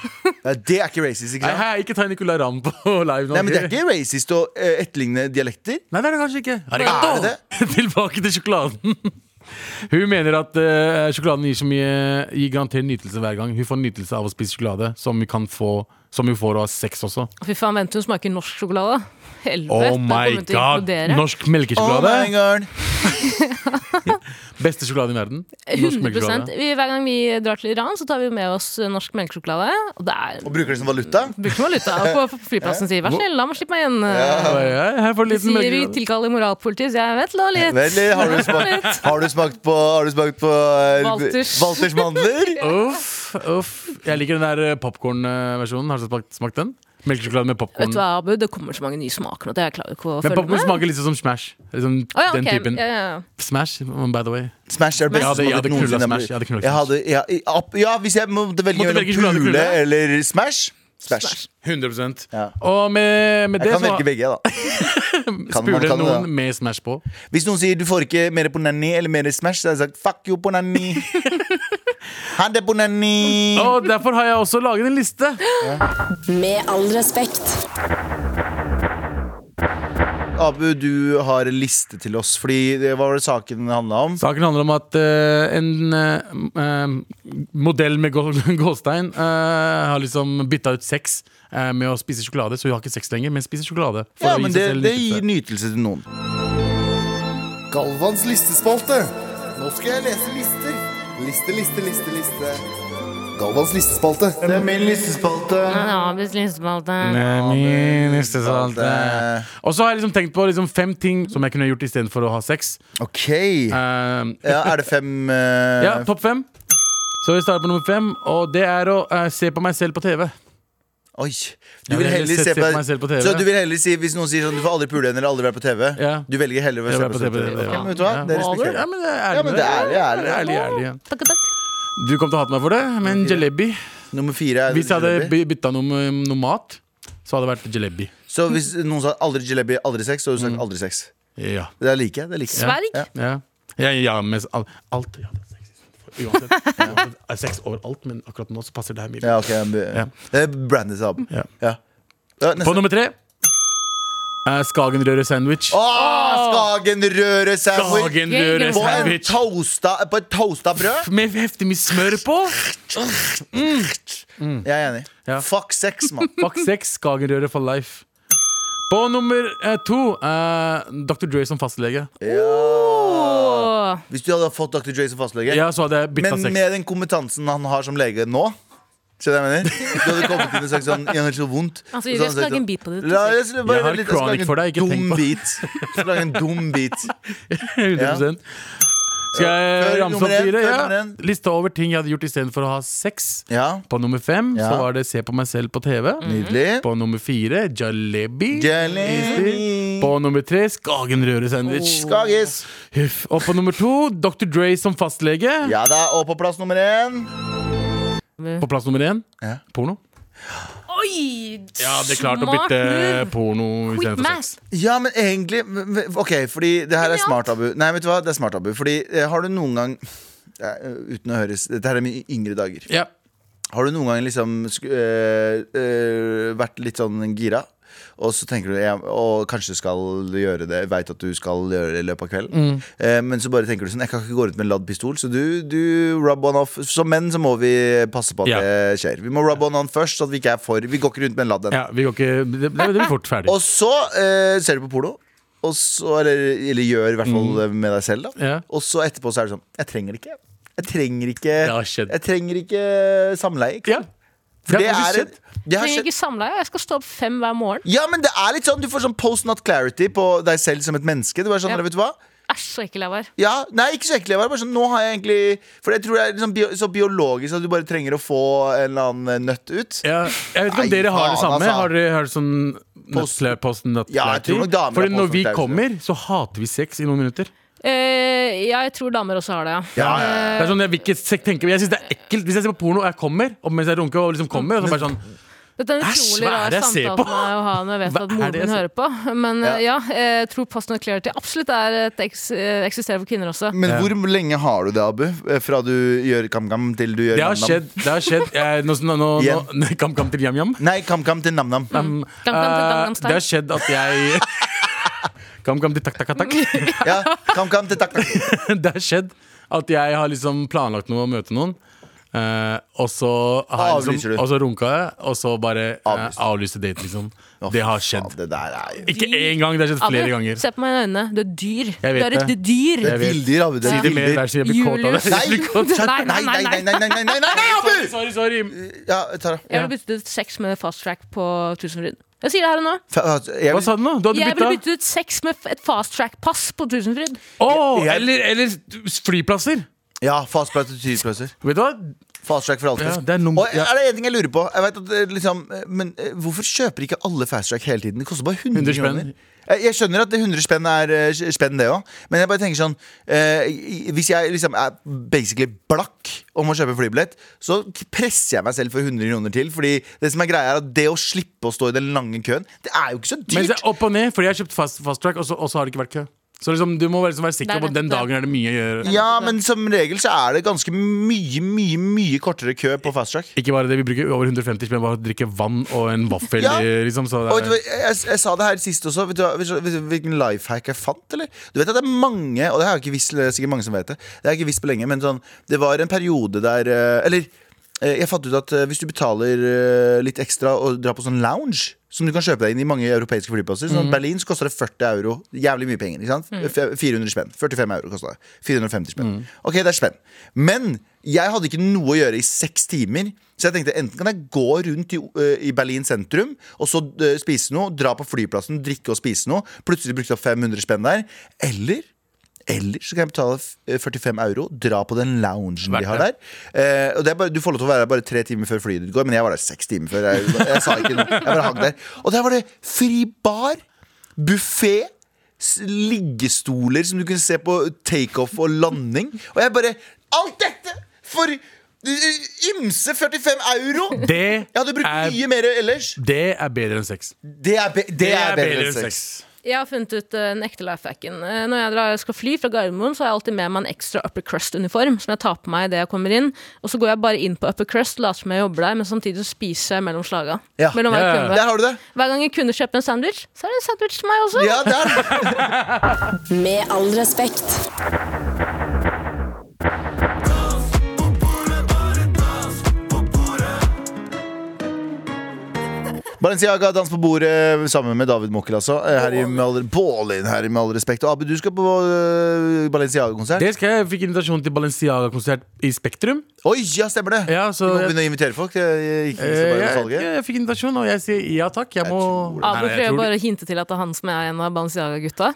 Nei, Det er ikke racist, ikke
Nei,
sant?
hei, ikke ta Nicolay Ramm på live nå.
Nei, men Det er ikke racist å eh, etterligne dialekter.
Nei, det er det kanskje ikke.
Er det
Tilbake til sjokoladen. Hun mener at eh, sjokoladen gir så mye Gir garantert nytelse hver gang. Hun får nytelse av å spise sjokolade, som hun, kan få, som hun får av sex også.
Fy faen, vent, hun smaker norsk sjokolade. Helvete.
Oh
da kommer
my
hun til å
god!
implodere.
Norsk
Oh
melkesjokolade.
my god
Beste sjokolade i verden. Norsk
100
melkesjokolade.
vi, Hver gang vi drar til Iran, så tar vi med oss eh, norsk melkesjokolade. Og det er
Og bruker det som valuta?
bruker man luta og på flyplassen sier 'vær snill, la meg slippe meg inn'.
Bare, ja, Her får du en
De
liten
sier vi
melkesjokolade.
tilkaller moralpolitiet, så jeg vet la litt.
Vel, har du smakt, har du smakt på, har du smakt på eh,
Walters.
Walters mandler?
Uff, uff. Jeg liker den der popkornversjonen. Har du smakt, smakt den? Melkesjokolade med popkorn.
Vet du hva, Abu, det kommer så mange nye smaker nå at jeg klarer ikke å
Men
følge
popkorn
med.
smaker litt som Smash. Liksom
Å ja,
den
ok.
typen.
Ja, ja, ja.
Smash, mm, by the way.
Smash er det
Jeg
beste
hadde-
som
jeg
har
hadde
blitt noensinne.
knulla Smash, jeg hadde knulla
Jeg hadde, ja, i- app- ja, hvis jeg måtte velge
Måtte
mellom
velge sjokolade,
pule
knulle?
eller Smash Smash.
100
Ja.
Og med,
Jeg
med det
kan
så
velge begge, da. Kan man-
spurte
kan man
noen
det?
med Smash på.
Hvis noen sier du får ikke mer på nanny eller mer Smash, så har jeg sagt fuck you på nanny. Ha det på nanny.
Og derfor har jeg også laget en liste.
Med all respekt.
Abu, du har en liste til oss, fordi det var det saken handla om.
Saken handler om at eh, en eh, eh, modell med gå- gåstein eh, har liksom bytta ut sex eh, med å spise sjokolade, så hun har ikke sex lenger, men spiser sjokolade. for
Ja,
å gi
men
seg
det,
selv
det
nytelse.
gir nytelse til noen.
Galvans listespalte. Nå skal jeg lese lister. Liste, liste, liste, liste. Galvans listespalte.
Det er min listespalte.
Ja, hvis listespalte.
Nei, min neste salte.
eh.
Og så har jeg liksom tenkt på liksom fem ting som jeg kunne gjort istedenfor å ha sex.
OK.
Eh,
Ja, er det fem eh,
Ja, topp fem. Så vi starter på nummer fem, og det er å eh, se på meg selv på TV.
Oi. Du
Jeg
vil heller se på
meg selv på TV.
Så du vil heller si, hvis noen sier sånn du får aldri pule henne eller aldri være på TV,
Ja.
du velger heller å
Jeg
se
vil
på
være på
TV?
TV,
Ok, men vet du hva?
ja.
Det respekterer
Ja,
jeg.
men det er ærlig.
Ja, men det er ærlig, ærlig.
ærlig.
Takk, takk.
Du kom til å hate meg for det, men jalebi
Nummer fire er
Hvis jeg hadde
jalebi.
by- bytta noe, med- noe mat, så hadde det vært jalebi.
Så hvis noen sa aldri jalebi, aldri sex, så hadde du
Mm.
sagt aldri sex.
Ja.
Det er like. Det er like.
Sverg?
Ja.
Ja, ja, ja men s- al- alt ja, det er sex. Uansett. uansett. Det er Sex overalt, men akkurat nå så passer det her mye.
Ja, ok. jeg be-
Ja.
Det er brandet seg opp.
Ja.
Ja. Ja, neste.
På nummer tre eh, Skagenrøre-sandwich.
Åh, Skagenrøre-sandwich! På, en
Skagenrøre-sandwich
toasta- på et toasta brød?
med heftig mye smør på!
Jeg er enig.
Mm. Ja.
Fuck sex, mann.
Fuck sex, Skagenrøre for life. På nummer eh, to eh, Dr. Dre som fastlege.
Åh.
Hvis du hadde fått Dr. Dre som fastlege,
Ja, så hadde jeg bytta
men
sex.
med den kompetansen han har som lege nå Skjønner du hva jeg mener? Du hadde kommet inn og sagt sånn Jeg har så vondt.
Altså,
Og så
jeg
hadde han
skal
sagt
lage en
sånn,
bit på det til
La,
sex.
jeg, skal bare,
Jeg har
vent litt, jeg skal
chronic
lage en
for deg, ikke
dum
tenk på det.
Bit. Jeg skal lage en dum bit.
100% Skal jeg
Før
ramse
nummer
opp
én,
fire?
før
Ja.
nummer én.
Lista over ting jeg hadde gjort istedenfor å ha sex.
Ja,
På nummer fem
Ja. Mm.
så var det se på meg selv på TV.
nydelig.
På nummer fire jalebi.
Jelly.
På nummer tre
Oh.
Skagenrøre-sandwich.
Skagis.
Huff. Og på nummer to Dr. Dre som fastlege.
Ja da, og på plass nummer én
På plass nummer én
Ja.
porno.
Oi!
Ja, det er klart å
smart
bytte
move.
porno
Quick
istedenfor sex.
math.
Ja, men egentlig men- men- Ok, fordi det her er smart, Abu. Nei, vet du hva? Det er smart, Abu. Fordi eh, har du noen gang eh, Uten å høres Dette her er mine yngre dager.
Ja.
Har du noen gang liksom sku- eh, eh, vært litt sånn gira? Og så tenker du jeg, Og kanskje skal gjøre det Veit at du skal gjøre det i løpet av kvelden. Eh, men så bare tenker du sånn Jeg kan ikke gå rundt med en ladd pistol. Så du, du rub one off. Som menn så må vi passe på at
Ja.
det skjer. Vi må rub one on først, så at vi ikke er for Vi går ikke rundt med en ladd ennå.
ja vi går ikke, det, det blir fort ferdig.
Og så eh, ser du på porno. Og så, eller, eller gjør i hvert fall med deg selv, da.
Mm. Ja.
Og så etterpå så er det sånn Jeg trenger det ikke. Jeg trenger ikke
har skjedd.
Jeg trenger ikke samleie. ikke
Ja.
sant? For det er
faktisk
Det har
Trenger
skjedd.
ikke samleie. Jeg skal stå opp fem hver morgen.
Ja, men det er litt sånn Du får sånn post not clarity på deg selv som et menneske. Du er sånn,
Ja.
vet du hva
Æsj, så ekkel jeg var.
Ja, nei, ikke så ekkel jeg var. Bare sånn, nå har jeg egentlig For jeg tror det er liksom bio, så biologisk at du bare trenger å få en eller annen eh, nøtt ut.
Ja, jeg vet ikke om
Nei,
dere har det
faen,
samme.
altså.
Har dere har dere sånn
Post-
nøttle- post
Ja, jeg tror nok damer har
Fordi når vi
postnøttelauser.
kommer, så hater vi sex i noen minutter.
Eh, ja, jeg tror damer også har det, ja.
Ja, ja, ja.
Det er sånn, Jeg, vil ikke se- tenke, jeg synes det er ekkelt Hvis jeg ser på porno og jeg kommer, og mens jeg runker og liksom kommer og så bare sånn,
Dette er en
Æsj,
utrolig
hva er
rar
det jeg ser
samtale
på?
å ha når jeg vet
Hva
at
er
moren
det jeg
min hører
ser
på. Men eh, ja, jeg tror Post Not Clarity absolutt er et eks eh, eksisterer for kvinner også.
Men hvor lenge har du det, Abu? Eh, Fra du gjør kam-kam til du gjør
Det har
nam-nam?
skjedd. det har skjedd Eh, nå, nå, nå,
Hjem.
nå, Kam kam til jam jam
Nei, kam-kam til nam-nam.
Um,
Mm. Kam, kam til
eh,
Gangnam Style.
Det har skjedd at jeg Kam kam til takk takk takk
Ja, kam-kam til takk-takk.
Det har skjedd at jeg har liksom planlagt noe å møte noen eh, og så har jeg
Avlyser
liksom,
du.
og så runka jeg, og så bare uh,
Avlyser.
avlyste date, liksom. Det har skjedd.
Det der er jo
Ikke én gang, det har skjedd flere
Abu,
ganger.
Se på meg i øynene. Du er dyr.
Jeg
Du
vet
er et
det.
dyr.
Det er
vet.
bilder, Abu. Det
Si
er
det mer,
bilder.
vær så jeg blir kåt av det.
Julius.
Jeg
Nei,
blir kåt.
skjønner-
Nei,
nei,
nei,
nei, nei, nei, nei, nei, nei, nei, Abu!
Sorry, sorry, sorry.
Ja, jeg tar det.
Jeg ville byttet ut sex med fast track på Tusenfryd. Jeg sier det her og nå.
Fa- Jeg
Hva sa du nå? Du hadde
Jeg ville
bytta?
byttet ut sex med f- et fast track-pass på Tusenfryd.
Åh,
Jeg-
eller, eller flyplasser.
Ja, fastplass til tyvplasser.
Vet du hva?
Fast track for alt.
Ja, det er noen-
og er det en ting jeg lurer på? Jeg vet at, eh, liksom, eh, men eh, Hvorfor kjøper ikke alle fast track hele tiden? Det koster bare 100,
100 spenn.
kroner. Eh, Jeg skjønner at det 100 spenn er eh, spenn, det òg. Men jeg bare tenker sånn eh, i- Hvis jeg liksom er basically blakk om å kjøpe flybillett, så k- presser jeg meg selv for 100 kroner til. Fordi det som er greia er at det å slippe å stå i den lange køen, det er jo ikke så
Mens
dyrt.
jeg er opp og ned, fordi jeg har kjøpt fast, fast track, og så, og så har det ikke vært kø. Så liksom, du må være, liksom være
Det er
sikker på at den
nettopp det.
dagen er det mye å gjøre.
Ja, men som regel så er det ganske mye, mye, mye kortere kø på fast track.
Ikke bare det, vi bruker over 150 spenn bare å drikke vann og en vaffel.
Ja.
i, liksom, så
Og vet du,
det er,
hva, jeg, jeg sa det her sist også. Vet du, hva- vet du, vet du hvilken life hack jeg fant? eller? Du vet at det er mange, og det har jeg ikke visst, det er sikkert mange som vet det. Det har jeg ikke visst på lenge, men sånn, det var en periode der eh, Eller eh, jeg fant ut at eh, hvis du betaler eh, litt ekstra og drar på sånn lounge som du kan kjøpe deg inn i mange europeiske flyplasser.
Mhm.
Sånn, Berlin så koster det 40 euro. Jævlig mye penger. ikke sant? F- 400 spenn. 45 euro kosta det. 450 spenn.
Mhm.
Ok, det er spenn. Men jeg hadde ikke noe å gjøre i seks timer. Så jeg tenkte enten kan jeg gå rundt i, ø, i Berlin sentrum og så ø, spise noe, dra på flyplassen, drikke og spise noe. Plutselig brukte jeg opp 500 spenn der. Eller eller så kan jeg betale f- 45 euro, dra på den loungen de
Verdt
har der.
det.
Eh, og det er bare, du får lov til å være der bare tre timer før flyet ditt går, men jeg var der seks timer før. Jeg, jeg sa ikke noe. Jeg bare hang der. Og der var det fri bar, buffé, liggestoler som du kunne se på takeoff og landing. Og jeg bare Alt dette for eh, ymse 45 euro!
det,
Jeg hadde brukt
er,
mye mer ellers.
det er bedre enn sex.
Det er, be det er bedre enn sex.
Jeg har funnet ut eh, den ekte lifehacken. Eh, Når jeg drar, skal fly fra Gardermoen, så har jeg alltid med meg en ekstra upper crust-uniform som jeg tar på meg idet jeg kommer inn. Og så går jeg bare inn på upper crust, later som jeg jobber der, men samtidig så spiser jeg mellom slaga.
Ja.
Mellom hver,
Ja, ja, ja.
kunde.
Der har du det.
hver gang en kunde kjøper en sandwich, så er det en sandwich til meg også.
Ja, der.
Med all respekt.
Balenciaga, dans på bordet sammen med David Mokkel, altså. Eh, Her i med all, Bålin, her i med all respekt. Og Abu, du skal på eh, Balenciaga-konsert.
Det skal jeg, jeg fikk invitasjon til Balenciaga-konsert i Spektrum.
Oi, ja, stemmer det!
Ja,
du
så
må
jeg,
begynne å invitere folk. Det gikk ikke så
Eh,
bare med
jeg,
salget.
jeg fikk invitasjon, og jeg sier ja takk. Jeg må
tror
Nei,
Abu
nei, jeg
prøver
tror-
bare å hinte til at det er han som er en av Balenciaga-gutta.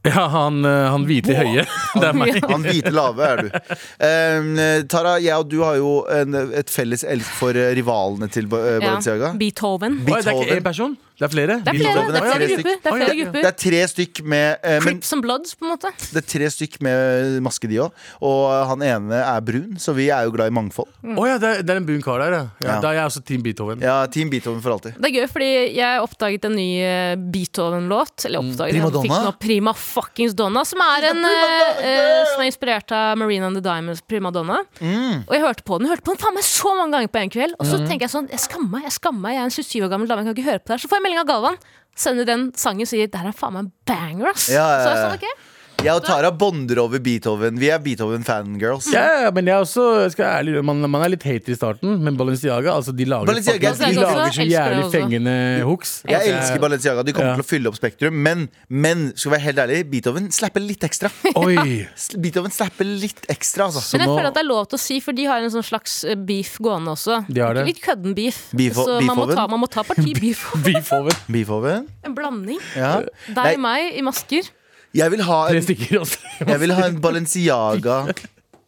Ja, han, eh, han hvite høye. Det er meg.
Han hvite lave er du. Eh, Tara, jeg og du har jo en, et felles elsk for eh, rivalene til Ba- eh, Balenciaga.
Beethoven.
Oi, det er ikke
Beethoven.
én person? Det er flere?
Det er flere,
Beethoven
det
er
er flere
flere
grupper. Det er
Oi,
flere
ja.
Det
grupper.
er tre stykk med eh, men,
Crips and Bloods, på en måte.
Det er tre stykk med eh, maske, de òg. Og eh, han ene er brun, så vi er jo glad i mangfold.
Å ja, det er, det er en brun kar der, ja. ja.
Ja.
Da er jeg også Team Beethoven.
Ja, Team Beethoven for alltid.
Det er gøy, fordi jeg oppdaget en ny eh, Beethoven-låt. Eller oppdaget
Mm. Prima
jeg fikk
Donna?
den opp, Prima fuckings Donna, som er en eh, eh, Som er inspirert av Marina and the Diamonds' Prima Donna.
Mm.
Og jeg hørte på den hørte på den faen meg så mange ganger på en kveld. Og så tenker jeg sånn, jeg skammer meg, jeg skammer meg, jeg er en 27 år gammel dame, jeg kan ikke høre på det her. Så får jeg melding av Galvan. Sender den sangen og sier 'det her er faen meg en banger', ass.
Ja, ja,
Så
ja.
jeg sånn, ok.
Jeg og Tara bonder over Beethoven. Vi er Beethoven-fangirls.
Ja, ja, men jeg er også, jeg skal ærlig, man, man er litt hater i starten, men Balenciaga altså, de lager,
Balenciaga
faktisk-
elsker
de
også,
lager så
elsker det
jævlig
også.
fengende hooks. Altså,
Jeg elsker Balenciaga. De kommer
Ja.
til å fylle opp Spektrum. Men, men skal vi være helt ærlig, Beethoven slapper litt ekstra.
Oi!
S- Beethoven slapper litt ekstra, altså.
Men jeg
nå-
føler at det er lov til å si, for de har en sånn slags eh, beef gående også.
De har det.
Litt kødden beef.
Beef-
så man må,
beefhoven?
ta, man må ta parti beef.
Beethoven.
Beethoven.
En blanding.
Ja.
Deg,
Nei,
meg i masker.
Jeg vil ha
Tre
en,
stykker også.
jeg vil ha en Balenciaga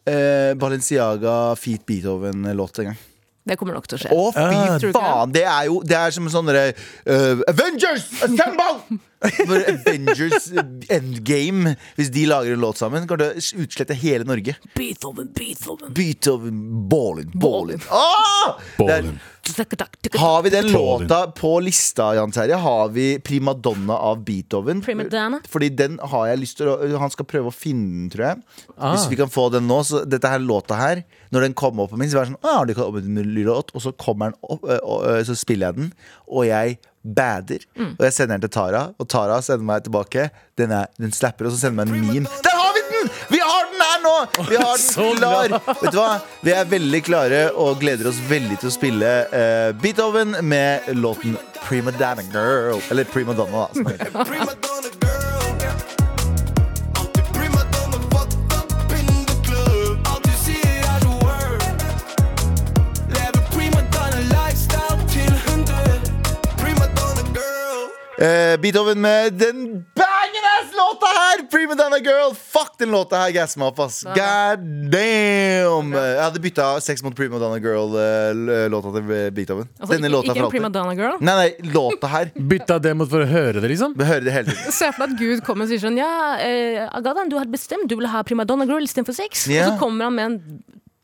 eh, Balenciaga Feet Beethoven-låt en gang.
Det kommer nok til å skje.
Å,
Ah,
fy
tror du ikke
faen! Det er jo Det er som en sånn derre eh, Avengers! Assemble! For Avengers Endgame. Hvis de lager en låt sammen, kan det utslette hele Norge.
Beethoven, Beethoven.
Beethoven, Ballin, Ballin. Ah! Det er- Har vi den låta på lista, Jan Terje? Har vi 'Primadonna' av Beethoven?
Primadonna.
Fordi den har jeg lyst til å Han skal prøve å finne den, tror jeg.
Ah.
Hvis vi kan få den nå. Så dette her låta her, når den kommer opp på min, så er det sånn ah, det kommer en ny låt, Og så kommer den opp, ø, og, ø, så spiller jeg den, og jeg bader. Og jeg sender den til Tara, og Tara sender meg tilbake. Den, er, den slapper, og så sender meg en meme. Der har vi den! Vi har den her nå! Vi har
Så
den
bra.
klar! Vet du hva? Vi er veldig klare og gleder oss veldig til å spille eh, Beethoven med låten Prima Donna Girl. Eller Prima Donna, da. Som det heter.
Primadonna girl. Alltid primadonna fucked up in the club. Alt du sier er the word. Lever primadonna lifestyle til 100. Primadonna girl.
Eh, Beethoven med den banging ass-låta her! Prima Donna Girl! Fuck den låta her, gass meg opp, ass. God damn! Jeg hadde bytta sex mot Prima Donna eh, Girl-låta til Beethoven. Denne låta
Altså, ikke, ikke
for
en prima
alltid.
donna girl.
Nei, nei, låta her.
Bytta det mot for å høre det, liksom?
Vi hører det hele tiden.
Se for deg at Gud kommer og sier sånn Ja, eh, Agadan, du hadde bestemt du ville ha primadonna girl istedenfor sex.
Ja.
Og så kommer han med en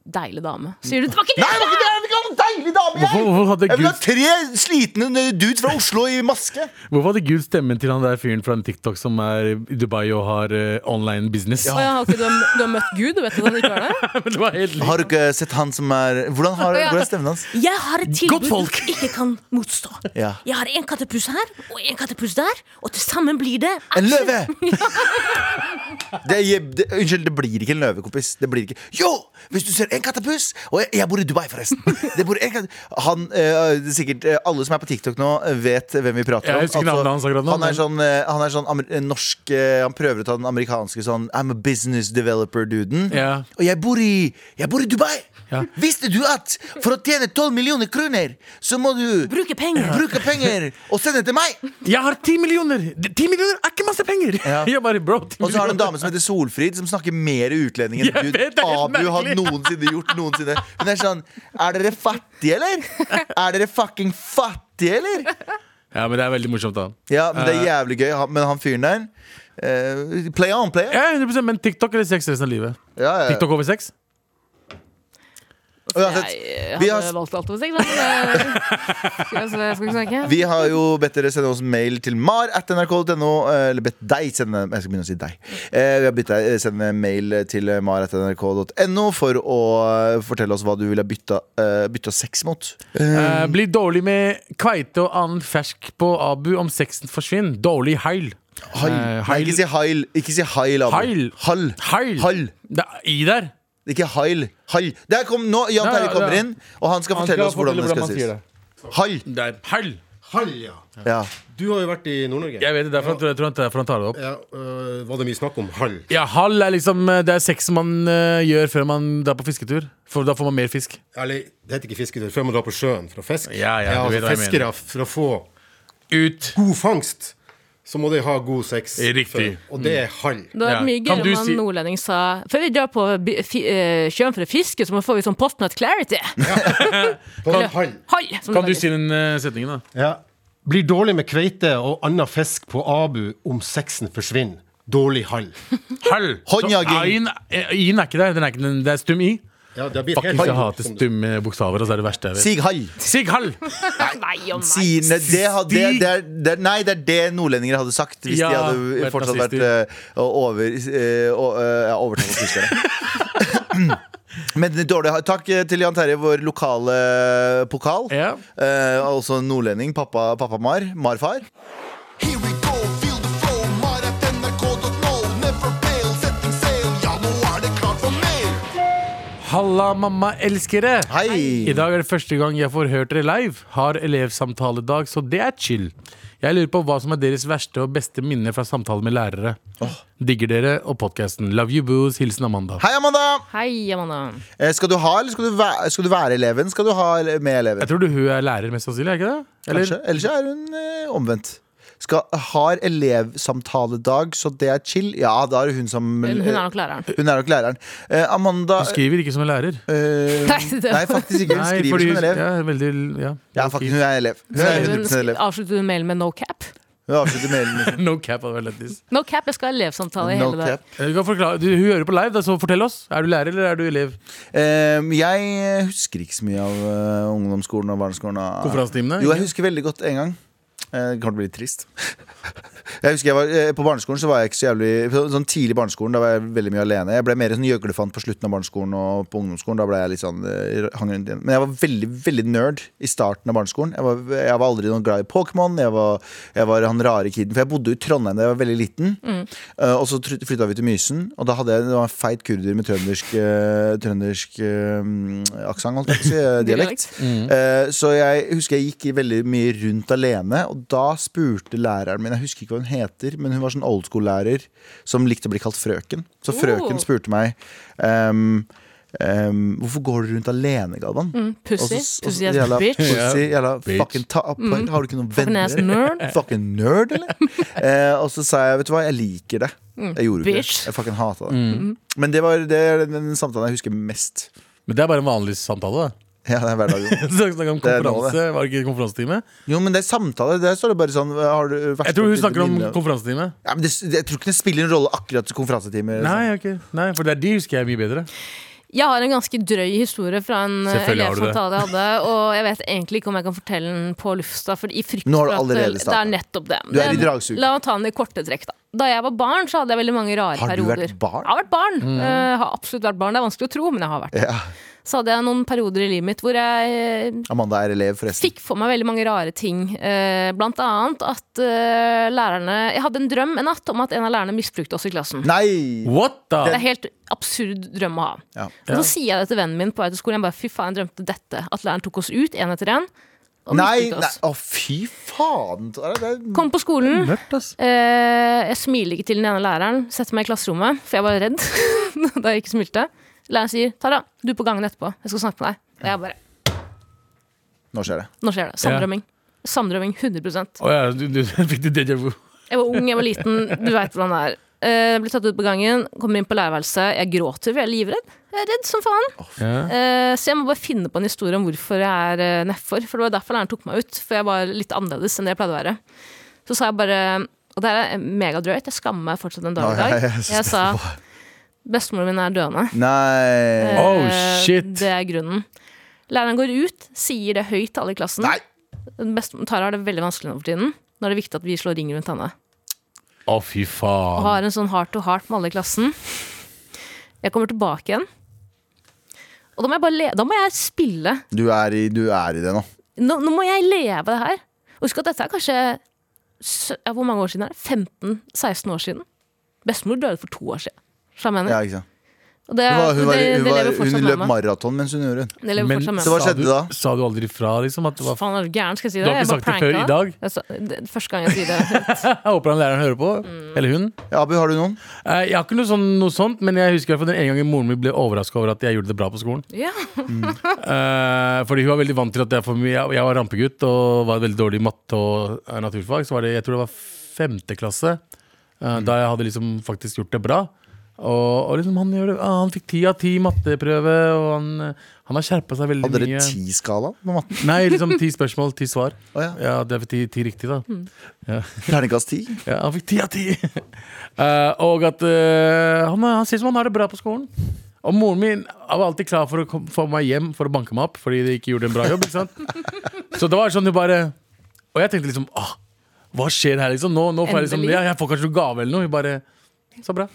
deilig dame. Sier du det var ikke det?
Nei, det var ikke det! Jeg vil ha en deilig dame,
Hvorfor,
jeg!
hvorfor, hadde
Jeg vil ha
Gud,
tre slitne dudes fra Oslo i maske.
hvorfor hadde Gud stemmen til han der fyren fra en TikTok som er i Dubai og har eh, online business?
Å ja, ok, du, har, du har møtt Gud, du vet at han ikke var der?
Men det var helt likt.
Har du ikke sett han som er Hvordan, har,
Ja.
hvordan er stemmen hans?
Jeg har et tilbud
Godt folk.
du ikke kan motstå.
Ja.
Jeg har en kattepus her og en kattepus der, og til sammen blir det
En løve! Det, er- det, unnskyld, det blir ikke en løve, kompis. Det blir ikke Jo! Hvis du ser en kattepus Og jeg, jeg bor i Dubai, forresten. Det bor en katt- han, eh, det er sikkert eh, Alle som er på TikTok nå, eh, vet hvem vi prater
Jeg
om.
husker navnet hans akkurat nå,
han
men-
er sånn, eh, han er sånn amer, eh, norsk eh, Han prøver å ta den amerikanske sånn I'm a business developer-duden.
Ja.
Og jeg bor i, jeg bor i Dubai!
Ja.
Visste du at for å tjene 12 millioner kroner, så må du
Bruke penger.
bruke penger og sende til meg?
Jeg har ti millioner! Det- Ti millioner er ikke masse penger!
Ja.
Jeg bare, bro, 10
Og så har du en
millioner.
dame som heter Solfrid, som snakker mer utlending enn Gud
Jeg vet, det er helt
Abu har
merkelig.
noensinne gjort. noensinne Hun er sånn Er dere fattige, eller? Er dere fucking fattige, eller?
Ja, men det er veldig morsomt, da.
Ja, men det
Eh.
er jævlig gøy. Han- Men han fyren der eh, Play on, play on.
Ja, 100 Men TikTok eller sex resten av livet?
Ja, ja.
TikTok over sex?
Og uansett,
Jeg
vi
hadde
har-
valgt alt over seg, da. men, eh, Skal jeg- skal vi snakke?
Vi har jo bedt dere sende oss mail til mar at nrk.no eh, Eller bedt deg sende Jeg skal begynne å si deg eh, Vi har bedt deg sende mail til mar at nrk.no For å eh, fortelle oss hva du ville bytta, eh, bytta sex mot
Eh, blir dårlig med kveite og annen fersk på Abu om sexen forsvinner. Dårlig heil.
Heil
Eh,
Nei, ikke si heil Ikke si heil, Abu
Heil.
Hall
Heil!
Hall
Det er I der!
Ikke heil Hall Der kom nå Jan
Ja,
Terje
ja,
kommer
ja.
inn Og han skal fortelle oss hvordan det skal sies Hall
Der. Heil!
Hall, ja.
Ja
Du har jo vært i Nord-Norge.
Jeg vet det, derfor jeg tror jeg derfor han tar det opp.
Ja, øh, var det mye snakk om hall?
Ja, hall er liksom eh, Det er sex man eh, gjør før man drar på fisketur. For da får man mer fisk.
Eller, det heter ikke fisketur, før man drar på sjøen for å fiske.
Ja, ja, du vet
altså,
hva jeg
fiskere, for å få
Ut!
god fangst, så må de ha god sex.
Riktig.
før. Og det er hall.
Det var
Ja.
mye
Kan
gøyere
du
om han
si-
nordlending sa Før vi drar på bi- fi- eh, sjøen for å fiske, så må vi få ut sånn postnut clarity.
På en hall.
Hall! som
Kan
det
du si den eh, setningen, da?
Ja. Blir dårlig med kveite og annen fisk på Abu om sexen forsvinner. Dårlig hall.
Hall!
Håndjaging.
I-en I-en eh, er ikke der. Den er ikke, den, det er stum I.
Ja, det har blitt
Fuckings jeg hater
som-
stumme bokstaver. Altså, det er det verste jeg vet.
Sig hall
Sig hall!
heter. Nei, å nei.
Sier- Nei, det, hadde, det,
Stig.
det, er- det, er- nei, det er det nordlendinger hadde sagt hvis
Ja,
de
vært
hadde fortsatt vært
nazister.
eh, over, eh, og, eh, ja, overtalt av tyskerne. Men det er dårlig. Takk eh, til Jan Terje, vår lokale pokal.
Ja.
Eh, altså nordlending. Pappa, pappa Mar. Marfar.
Here we go, feel the flow. Mar at nrk.no. Never fail, setting sail. Ja, nå er det klart for mer.
Halla, mamma elskere! I
Hei!
dag er det første gang jeg får hørt dere live. Har elevsamtaledag, så det er chill. Jeg lurer på hva som er deres verste og beste minne fra samtaler med lærere. Digger dere og podkasten. Love you, boos. Hilsen Amanda.
Hei, Amanda!
Hei, Amanda.
Eh, skal du ha, eller skal du, væ skal du være eleven? Skal du ha ele- med eleven?
Jeg tror du hun er lærer, mest sannsynlig? er ikke det?
Kanskje. Ellers er hun eh, omvendt. skal, har elevsamtaledag, så det er chill. Ja, da er det hun som
Hun, hun er nok læreren.
Hun er nok læreren. Eh, Amanda
Hun skriver ikke som en lærer.
eh,
Nei, det-
nei, faktisk ikke. Hun skriver
fordi-
som en elev.
Ja, veldig, ja.
Ja, faktisk, hun er elev. Hun er 100
Hun
elev.
avslutter mailen med no cap.
Hun avslutter mailen med
No cap hadde vært lættis.
No cap, jeg skal ha elevsamtale i
no
hele
cap.
Eh,
dag.
Du kan forklare, du, hun hører på live, da, så fortell oss. Er du lærer eller er du elev?
Eh, jeg husker ikke så mye av eh, ungdomsskolen og barneskolen. og-
Konferansetimene?
Jo, jeg husker veldig godt en gang. Eh, Det kan bli litt trist. Jeg husker jeg var, eh, På barneskolen så var jeg ikke så jævlig så- Sånn tidlig i barneskolen da var jeg veldig mye alene. Jeg ble mer sånn gjøglefant på slutten av barneskolen og på ungdomsskolen. Da ble jeg litt sånn eh, hang rundt igjen. Men jeg var veldig veldig nerd i starten av barneskolen. Jeg var, jeg var aldri noen glad i Pokémon. Jeg, var- jeg var han rare kiden. For jeg bodde jo i Trondheim da jeg var veldig liten. Eh, og så tr- flytta vi til Mysen, og da hadde jeg det var en feit kurder med trøndersk, eh, trøndersk eh, aksent, holdt jeg på å si. eh, Dialekt. Eh, Så jeg husker jeg gikk i veldig mye rundt alene, og da spurte læreren min Jeg husker ikke hva hun heter, men hun var sånn old school-lærer som likte å bli kalt frøken. Så frøken
Oh.
spurte meg ehm, ehm, hvorfor går du rundt alene, Galvan? Mm,
Pussy. Pussy ass bitch. Mm.
Pussy, jævla
Bitch.
fucking ta Har du ikke noen
Fucking ass
venner?
nerd.
Fucking nerd, eller? eh, og så sa jeg, vet du hva, jeg liker det. Jeg gjorde jo ikke det.
Mm. bitch.
Jeg fucking hata det.
Mm.
Men det var det er den samtalen jeg husker mest.
Men det er bare en vanlig samtale, da.
Ja, det er hverdagen.
Så dere snakker om
Det er nå,
konferanse, var det ikke konferansetime?
Jo, men det er samtale. Der står det bare sånn har du vært
Jeg tror hun
på-
snakker om
minne-
konferansetime.
ja, men det, Jeg tror ikke det spiller en rolle akkurat til konferansetimer. liksom.
Nei, ok. Nei, for det er de husker jeg mye bedre.
Jeg har en ganske drøy historie fra en eh,
Selvfølgelig har du det.
elevsamtale jeg hadde. Og jeg vet egentlig ikke om jeg kan fortelle den på lufta. For i frykt
Nå har du
for at
allerede
det, det
startet.
er nettopp det.
Du er i
Det-
dragsug.
La meg ta den i korte trekk, da. Da jeg var barn, så hadde jeg veldig mange rare
Har du
perioder.
vært barn? Mm.
Jeg har vært barn. Eh, har absolutt vært barn. Det er vanskelig å tro, men jeg har vært det.
Ja.
Så hadde jeg noen perioder i livet mitt hvor jeg eh,
Amanda er elev, forresten.
fikk for meg veldig mange rare ting. Eh, blant annet at eh, lærerne Jeg hadde en drøm en natt om at en av lærerne misbrukte oss i klassen.
Nei!
What da?
Det er helt absurd drøm å ha.
Ja.
Og så sier jeg det til vennen min på vei til skolen. Jeg bare, fy faen, jeg drømte dette. At læreren tok oss ut en etter en. Og
Nei,
misbrukte
nei.
oss.
Å, fy faen! Det er, det er
Kom på skolen.
Mørkt, ass.
Eh, jeg smiler ikke til den ene læreren. Setter meg i klasserommet, for jeg var redd da jeg ikke smilte. Læreren sier 'Tara, du er på gangen etterpå. Jeg skal snakke med deg'. Og jeg bare
Nå skjer det.
Nå skjer det. Samdrømming. Samdrømming 100
Å ja, du, du fikk du deja vu.
Jeg var ung, jeg var liten. Du veit hvordan det er. Eh, Jeg blir tatt ut på gangen, kommer inn på lærerværelset. Jeg gråter, for jeg er livredd. Jeg er redd som faen.
Ja.
Eh, Så jeg må bare finne på en historie om hvorfor jeg er eh, nedfor. For det var derfor læreren tok meg ut, for jeg var litt annerledes enn det jeg pleide å være. Så sa jeg bare Og det her er megadrøyt, jeg skammer meg fortsatt den dag i
Nå,
dag.
jeg- jeg er så
Jeg sa
spent på-
bestemoren min er døende.
Nei.
Oh,
Eh,
shit.
Det er grunnen. Læreren går ut, sier det høyt til alle i klassen.
Nei.
Best- Tara har det veldig vanskelig nå for tiden. Nå er det viktig at vi slår ring rundt henne.
Å, fy
og
faen.
har en sånn heart to heart med alle i klassen. Jeg kommer tilbake igjen. Og da må jeg, bare le da må jeg spille.
Du er, i, du er i det nå.
Nå, nå må jeg leve det her. Og Husk at dette er kanskje sø- ja, Hvor mange år siden er det? 15-16 år siden. Bestemor døde for to år siden. Så jeg mener.
Ja, ikke sant?
Og det,
Hun, var, hun, var,
det,
hun,
det
var,
lever fortsatt
hun løp
med meg.
maraton mens hun gjorde det.
Det lever
Men
fortsatt med
Så hva
meg.
sa du,
skjedde da?
sa du aldri fra, liksom? At det var
Faen, er du gæren? Skal jeg si
Du
det?
har
Jeg
ikke
bare
sagt det før i
pranka deg.
dag?
Jeg sa- det, er første gang jeg sier det.
Jeg håper han læreren hører på.
Mm.
Eller hun.
Ja, Abu, har du noen?
Eh, Jeg har ikke noe, sånn, noe sånt, men jeg husker i hvert fall den ene gangen moren min ble overraska over at jeg gjorde det bra på skolen.
Ja.
Eh, fordi hun var veldig vant til at jeg, for mye, jeg, jeg var rampegutt og var veldig dårlig i matte og eh, naturfag. Så var det, jeg tror det var femte klasse,
Mm.
eh, da jeg hadde liksom faktisk gjort det bra. Og, og liksom han, gjør det, ah, han fikk ti av ti i matteprøve, og han, eh, han har skjerpa seg veldig
Hadde dere
mye.
ti-skala på matten?
Nei, liksom ti spørsmål, ti svar.
Å ja.
Ja, det er ti, ti riktig, da.
Terningkast ti?
Ja, han fikk ti av ti. Eh, og at eh, han, han sier som han har det bra på skolen. Og moren min var alltid klar for å kom- få meg hjem for å banke meg opp fordi de ikke gjorde en bra jobb. ikke sant? Så det var sånn hun bare Og jeg tenkte liksom ah, Hva skjer her, liksom? Nå, nå får jeg liksom
Endelig.
ja, Jeg får kanskje noe gave eller noe. Hun bare Så bra.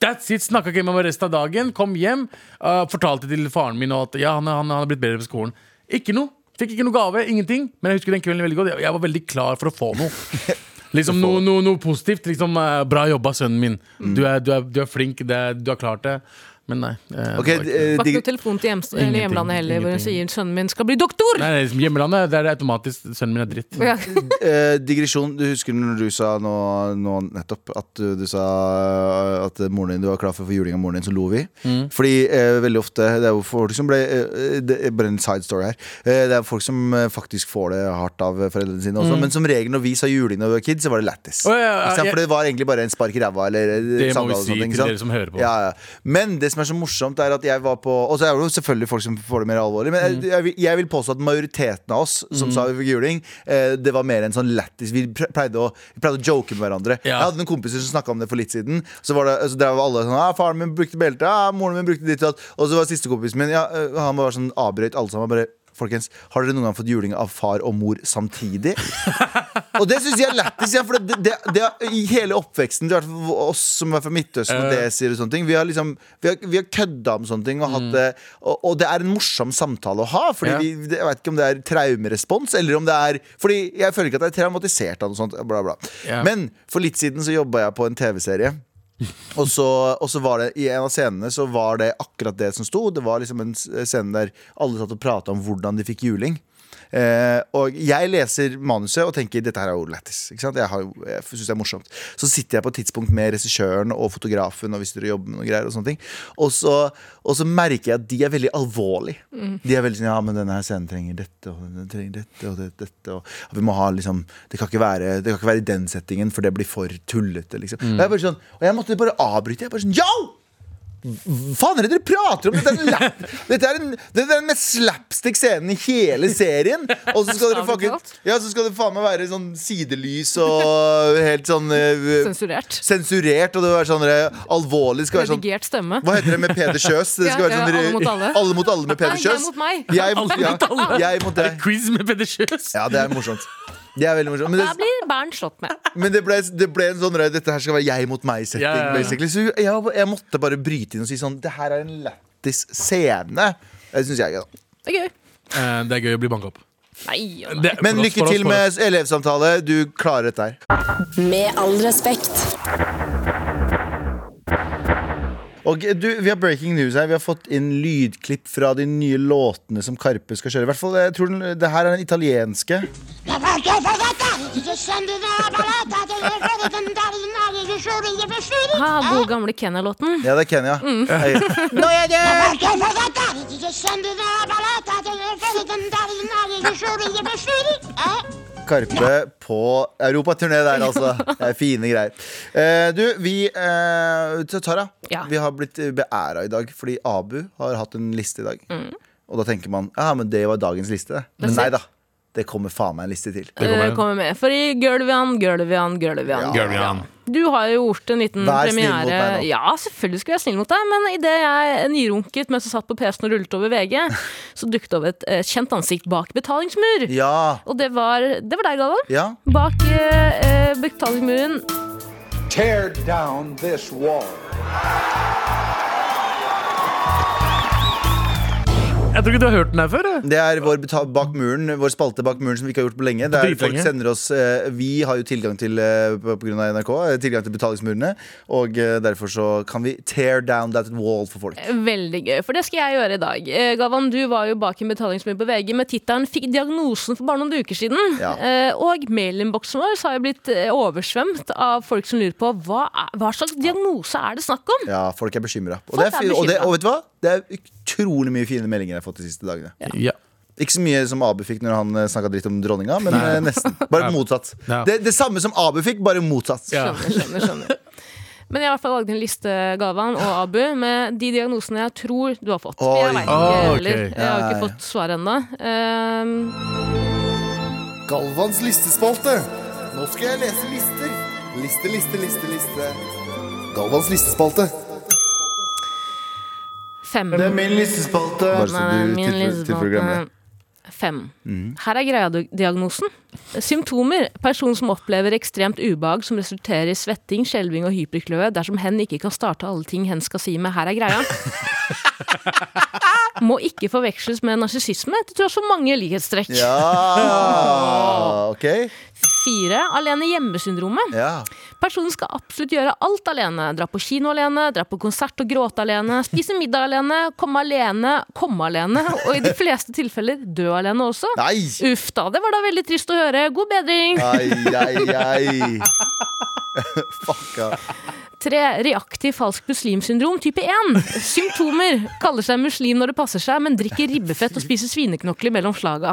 That's it, Snakka ikke med meg resten av dagen. Kom hjem. eh, fortalte til faren min at ja, han, han, han har blitt bedre på skolen. Ikke noe. Fikk ikke noe gave. Ingenting. Men jeg husker den kvelden veldig godt. Jeg, jeg var veldig klar for å få noe. Liksom noe, noe, noe positivt. Liksom, eh, bra jobba, sønnen min. Du, er, du, er, du er flink. Det, er- du har klart det. Men nei. eh, det
Ok,
var ikke-
eh,
Var ikke
dig-
noe telefon til hjems- eller
Ingenting,
hjemlandet heller, hvor hun
ingenting.
sier 'sønnen min skal bli doktor'!
Nei, nei, hjemlandet der er det automatisk sønnen min er dritt.
Ja.
eh, digresjon. Du husker når du sa nå, nå nettopp at du, du sa eh, at moren din, du var klar for å få juling av moren din, så lo vi.
Mm.
Fordi eh, veldig ofte Det er jo folk som ble eh, Det er bare en side story her. Eh, det er folk som eh, faktisk får det hardt av eh, foreldrene sine også. Men som regel når vi sa juling når vi var kids, så var det lættis.
Mm. Å, ja, ja,
Ikke sant?
ja.
For det var egentlig bare en spark i ræva eller eh,
Det må
samtale
vi
og
si
sånne ting,
til
sant?
dere som hører på.
Ja, ja. Men det som er så morsomt, er at jeg var på Og så er det jo selvfølgelig folk som får det mer alvorlig, men jeg, jeg, vil- jeg vil påstå at majoriteten av oss som sa vi fikk juling, eh, det var mer en sånn lættis. Vi pre- pleide å, vi pleide å joke med hverandre.
Ja.
Jeg hadde noen kompiser som snakka om det for litt siden. Så var det, så drev alle sånn ah, 'Faren min brukte belte. Ah, moren min brukte ditt og datt.' Og så var siste kompisen min ja, eh, Han var sånn avbrøt alle sammen. bare Folkens, har dere noen gang fått juling av far og mor samtidig? Og det syns jeg er lættis. Ja, for det, det, det, I hele oppveksten, i hvert fall for oss som er fra Midtøsten, og
Eh.
det sier og sånne ting, vi har liksom Vi har, vi har kødda om sånne ting, og, hatt, det- og, og det er en morsom samtale å ha. Fordi
Mm. Ja.
vi, det- Jeg vet ikke om det er traumerespons, eller om det er Fordi jeg føler ikke at jeg er traumatisert av noe sånt. Bla, bla.
Ja.
Men for litt siden så jobba jeg på en TV-serie. Og så, og så var det I en av scenene så var det akkurat det som sto. Det var liksom en s- scene der alle satt og prata om hvordan de fikk juling. Eh, og jeg leser manuset og tenker dette her er jo lættis. ikke sant? Jeg, har jo- jeg syns det er morsomt. Så sitter jeg på et tidspunkt med regissøren og fotografen, og hvis dere jobber med noe greier og sånne ting og så, og så merker jeg at de er veldig alvorlige. De er veldig sånn ja, men denne her scenen trenger dette og den trenger dette og det, dette. Og vi må ha liksom det kan, ikke være, det kan ikke være i den settingen, for det blir for tullete. liksom Og jeg bare sånn, og jeg måtte bare avbryte. Jeg bare sånn, yo! faen er det dere prater om? Dette er, en lap, dette er, en, dette er den mest slapstick scenen i hele serien. Og så skal dere fucking Ja, så skal det faen meg være sånn sidelys og helt sånn eh,
Sensurert.
sensurert. Og det skal være sånn eh, alvorlig. Det Skal være sånn
Redigert stemme.
hva heter det med Peder Kjøs? Det skal
Ja,
være sånn
ja, Alle mot alle.
alle mot alle med Peder
Nei, jeg
Kjøs.
mot meg.
Jeg mot, ja, jeg mot deg.
Quiz med Peder Kjøs!
Ja, det er morsomt. Det er veldig morsomt. Men
Da
det,
blir Bernt slått med.
men det, ble, det ble en sånn rød, Dette her skal være jeg mot meg-setting.
Ja, ja, ja.
basically. Så jeg, jeg måtte bare bryte inn og si sånn Det her er en lættis scene. Det syns jeg er gøy. da.
Det er gøy.
Eh, det er gøy å bli banka opp.
Nei, ja, nei.
Det-
Men
for oss,
lykke
for oss,
til
for oss.
med elevsamtale. Du klarer dette her.
Med all respekt.
Og eh, du, Vi har breaking news her. Vi har fått inn lydklipp fra de nye låtene som Karpe skal kjøre. I hvert fall, jeg tror den, Det her er den italienske.
Ha, gode gamle Kenner-låten.
Ja, det er Kenya. Hei. Karpe på europaturné der, altså. Det er fine greier. Eh, du, vi eh, til Tara,
Ja.
vi har blitt beæra i dag fordi Abu har hatt en liste i dag. Og da tenker man ja, men det var dagens liste. Men nei da. Det kommer faen meg en liste til.
Det kommer.
Eh, Kommer med. For i Gulvian, Gulvian, Gulvian.
Gulvian.
Du har jo gjort en liten
Vær snill mot
premiere.
meg nå.
Ja, selvfølgelig skulle jeg være snill mot deg, men idet jeg nyrunket mens jeg satt på PC-en og rullet over VG, så dukket det opp et eh, kjent ansikt bak betalingsmur.
Ja.
Og det var, det var deg, Galvan.
ja.
Bak eh, eh, betalingsmuren.
Tear down this wall.
Jeg tror ikke du har hørt den her før. jeg.
Det er vår, beta- bak muren, vår spalte bak muren som vi ikke har gjort på lenge. Det er
Dritlenge.
folk sender oss eh, Vi har jo tilgang til eh, på på grunn av NRK eh, Tilgang til betalingsmurene. Og eh, derfor så kan vi tear down that wall for folk.
Veldig gøy, for det skal jeg gjøre i dag. Eh, Galvan, du var jo bak en betalingsmur på VG med tittelen 'Fikk diagnosen for bare noen uker siden'.
Ja.
Eh, Og mailinnboksen vår har jo blitt eh, oversvømt av folk som lurer på hva, er, hva slags diagnose er det snakk om?
Ja, folk er bekymra. Og,
Folk
det er
er
fi- og, det-
bekymra.
og vet du hva? Det er utrolig mye fine meldinger jeg har fått de siste dagene.
Ja.
Ikke så mye som Abu fikk når han snakka dritt om dronninga, men eh, nesten. Bare motsatt.
Ja.
Det, det samme som Abu fikk, bare motsatt.
Ja.
Skjønner, skjønner, skjønner. Men jeg har i hvert fall lagd en liste, Galvan og Abu, med de diagnosene jeg tror du har fått.
Oi.
Jeg, vet ikke,
Ah, ok.
heller. jeg har
Ja, ja,
ikke
ja.
fått svar ennå. Ehm,
Galvans listespalte. Nå skal jeg lese lister. Liste, liste, liste, liste. Galvans listespalte.
fem.
Det er min listespalte. Bare så
Nei,
du Mm.
min
tilfø-
listespalte.
tilføyer det.
Fem. Her er greia du- diagnosen. Symptomer. Person som opplever ekstremt ubehag som resulterer i svetting, skjelving og hyperkløe dersom hen ikke kan starte alle ting hen skal si med 'her er greia'. Må ikke forveksles med narsissisme, til tross for mange likhetstrekk.
Ja! OK?
Fire. Alene hjemme-syndromet.
Ja.
Personen skal absolutt gjøre alt alene. Dra på kino alene, dra på konsert og gråte alene, spise middag alene, komme alene, komme alene, og i de fleste tilfeller dø alene også.
Nei!
Uff da, det var da veldig trist å høre. God bedring.
Ai, ai, ai. Fucka.
Tre, reaktiv falsk muslimsyndrom type 1. Symptomer. Kaller seg muslim når det passer seg, men drikker ribbefett og spiser svineknokler mellom slaga.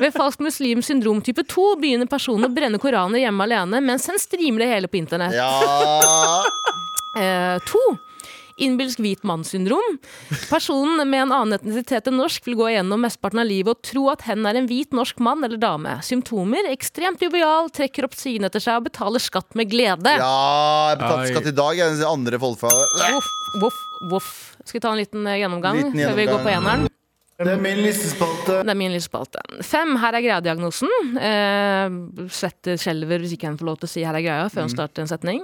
Ved falsk muslim syndrom type 2 begynner personen å brenne koraner hjemme alene, mens en streamer det hele på internett.
Ja
Eh, to. Innbilsk hvit mann-syndrom. Personen med en annen etnisitet enn norsk vil gå igjennom mesteparten av livet og tro at hen er en hvit norsk mann eller dame. Symptomer. Ekstremt jovial, trekker opp siden etter seg og betaler skatt med glede.
Ja, jeg betalte skatt i dag. Jeg er den andre folkefallet.
Voff, voff, voff. Skal vi ta en liten eh, gjennomgang
Liten
før vi går
gjennomgang.
på eneren?
Det er min listespalte.
Det er min lille spalte. Fem, her er greia-diagnosen. Eh, svetter, skjelver hvis ikke en får lov til å si 'her er greia' før
Mm.
en starter en setning.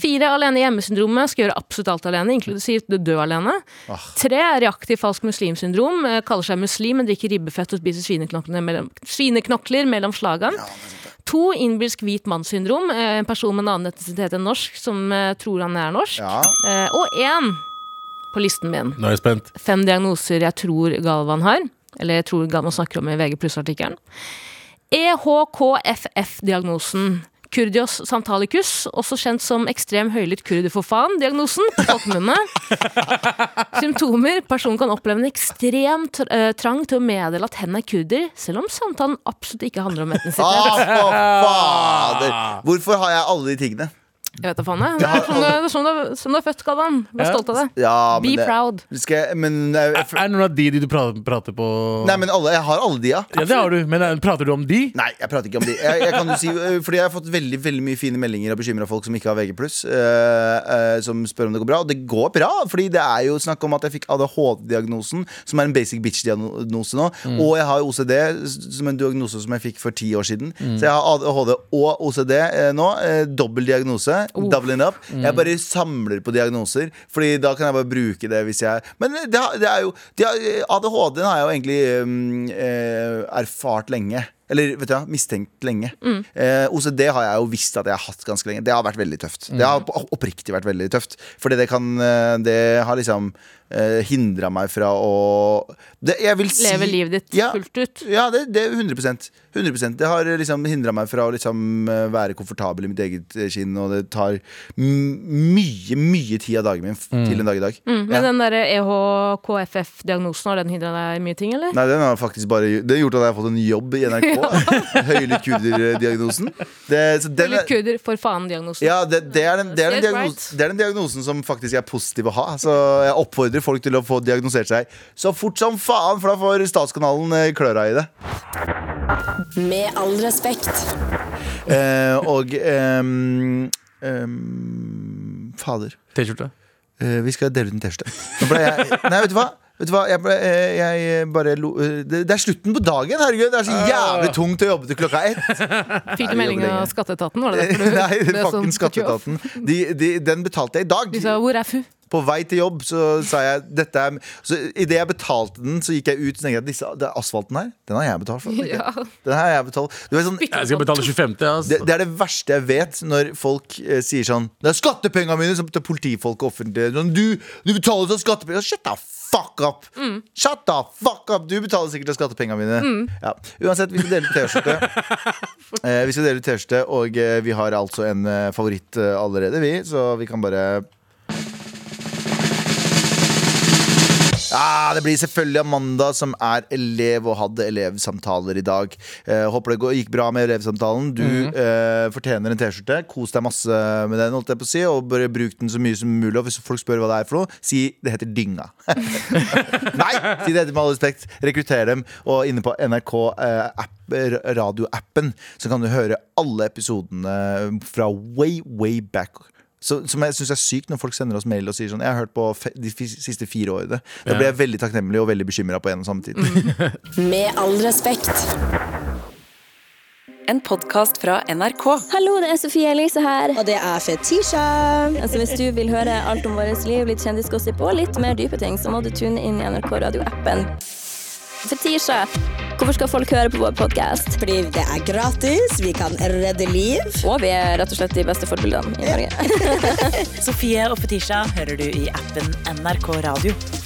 Fire, alene hjemme-syndromet. Skal gjøre absolutt alt alene, inklusivt dø alene.
Ah.
Tre, reaktiv falsk muslimsyndrom. Eh, kaller seg muslim, men drikker ribbefett og spiser svineknokler mellom, svineknokler mellom slagene. To, innbilsk hvit mannssyndrom. Eh, en person med en annen etnisitet enn norsk som eh, tror han er norsk.
Ja.
Eh, og én på listen min
Nå er jeg spent.
fem diagnoser jeg tror Galvan har, eller jeg tror Galvan snakker om i VG pluss-artikkelen. E EHKFF-diagnosen. Kurdios santalicus, også kjent som ekstrem høylytt kurder for faen-diagnosen på folkemunne. Symptomer. Personen kan oppleve en ekstrem tr eh, trang til å meddele at hen er kurder, selv om samtalen absolutt ikke handler om etnisitet.
Ah, for fader. Hvorfor har jeg alle de tingene?
Jeg vet da faen, jeg. Det er som du, det er som du, som du er født, Galvan. Vær
Ja.
stolt av det.
Ja, men
Be
det-
proud.
Skal jeg, men, jeg,
Er det noen av de, de du prater, prater på
nei, men alle, jeg har alle de, ja.
Ja, det har du, men eh, prater du om de?
Nei, jeg prater ikke om de. Jeg, jeg kan jo si, øh, fordi jeg har fått veldig veldig mye fine meldinger av bekymra folk som ikke har VG+, øh, øh, som spør om det går bra. Og det går bra, fordi det er jo snakk om at jeg fikk ADHD-diagnosen, som er en basic bitch-diagnose nå. Og jeg har OCD, s- som en diagnose som jeg fikk for ti år siden. Så jeg har ADHD og OCD eh, nå. Eh, Dobbel diagnose. Doubling up. Jeg bare samler på diagnoser, Fordi da kan jeg bare bruke det hvis jeg Men det, har- det er jo de har, ADHD-en har jeg jo egentlig mm, eh, erfart lenge. Eller vet du hva, mistenkt lenge.
Mm.
Eh, OCD har jeg jo visst at jeg har hatt ganske lenge. Det har vært veldig tøft. Det
Mm.
har opp- oppriktig vært veldig tøft. Fordi det kan eh, Det har liksom eh, hindra meg fra å det, Jeg vil si
Leve livet ditt
Ja.
fullt ut.
Ja, det, det er 100 100 Det har liksom hindra meg fra å liksom eh, være komfortabel i mitt eget eh, skinn, og det tar m mye, mye tid av dagen min f- til en dag i dag.
Mm, Men den der E EHKFF-diagnosen, har den hindra deg i mye ting, eller?
Nei, den har faktisk bare Det har gjort at jeg har fått en jobb i NRK. Høylytt kurder-diagnosen. Det- så den
Litt
er-
kurder for faen-diagnosen.
Ja, det, det, er den, det, er den
Helt
diagnosen,
right.
det er den diagnosen som faktisk er positiv å ha. Så jeg oppfordrer folk til å få diagnosert seg så fort som faen, for da får Statskanalen eh, kløra i det.
Med all respekt.
Eh, og ehm, ehm, Fader.
T-skjorte.
Eh, vi skal dele ut en T-skjorte. Nå ble jeg- Nei, vet du hva? Vet du hva? Jeg, ble, eh, jeg bare lo, eh, det, det er slutten på dagen, herregud! Det er så
Ah.
jævlig tungt å jobbe til klokka ett.
Fikk
Nei,
du melding
det jobber
av
lenge.
skatteetaten? Var det derfor du
Nei,
ble sånn
fucking
skrutt off?
skatteetaten. De, de, den betalte jeg i dag.
De sa 'hvor er fu'?
På vei til jobb så sa jeg dette er så Idet jeg betalte den, så gikk jeg ut og tenkte jeg at disse, det er asfalten her, den har jeg betalt for. tenkte jeg.
Ja.
Den har jeg betalt. Du vet, sånn,
Jeg skal betale 25.
det,
Altså.
det er det verste jeg vet, når folk eh, sier sånn Det er skattepengene mine som til politifolk og offentlige sånn, du, du betaler sånn skattepenger Shut the fuck up! Shut the fuck up! Du betaler sikkert av skattepengene mine. Ja. Uansett, vi skal dele ut T-skjorte. eh, vi skal dele ut T-skjorte, og eh, vi har altså en eh, favoritt eh, allerede, vi, så vi kan bare Ja, det blir selvfølgelig Amanda som er elev og hadde elevsamtaler i dag. Eh, håper det går, gikk bra med elevsamtalen. Du eh, fortjener en T-skjorte. Kos deg masse med den, holdt jeg på å si, og bare bruk den så mye som mulig. Og hvis folk spør hva det er for noe, si det heter dynga. Nei! Si det heter med all respekt. Rekrutter dem. Og inne på NRK eh, app, eh, radioappen så kan du høre alle episodene fra way, way back. Så, som jeg syns er sykt når folk sender oss mail og sier sånn Jeg har hørt på fe de fi- siste fire årene. Da blir jeg veldig takknemlig og veldig bekymra på en og samme tid.
Med all respekt.
En podkast fra NRK.
Hallo, det er Sofie Elise her.
Og det er Fetisha.
Altså, hvis du vil høre alt om vårt liv, litt kjendisgossip og litt mer dype ting, så må du tune inn i NRK Radio-appen. Fetisha, hvorfor skal folk høre på vår podkast?
Fordi det er gratis, vi kan redde liv.
Og vi er rett og slett de beste forbildene i Norge.
Sofie og Fetisha hører du i appen NRK Radio.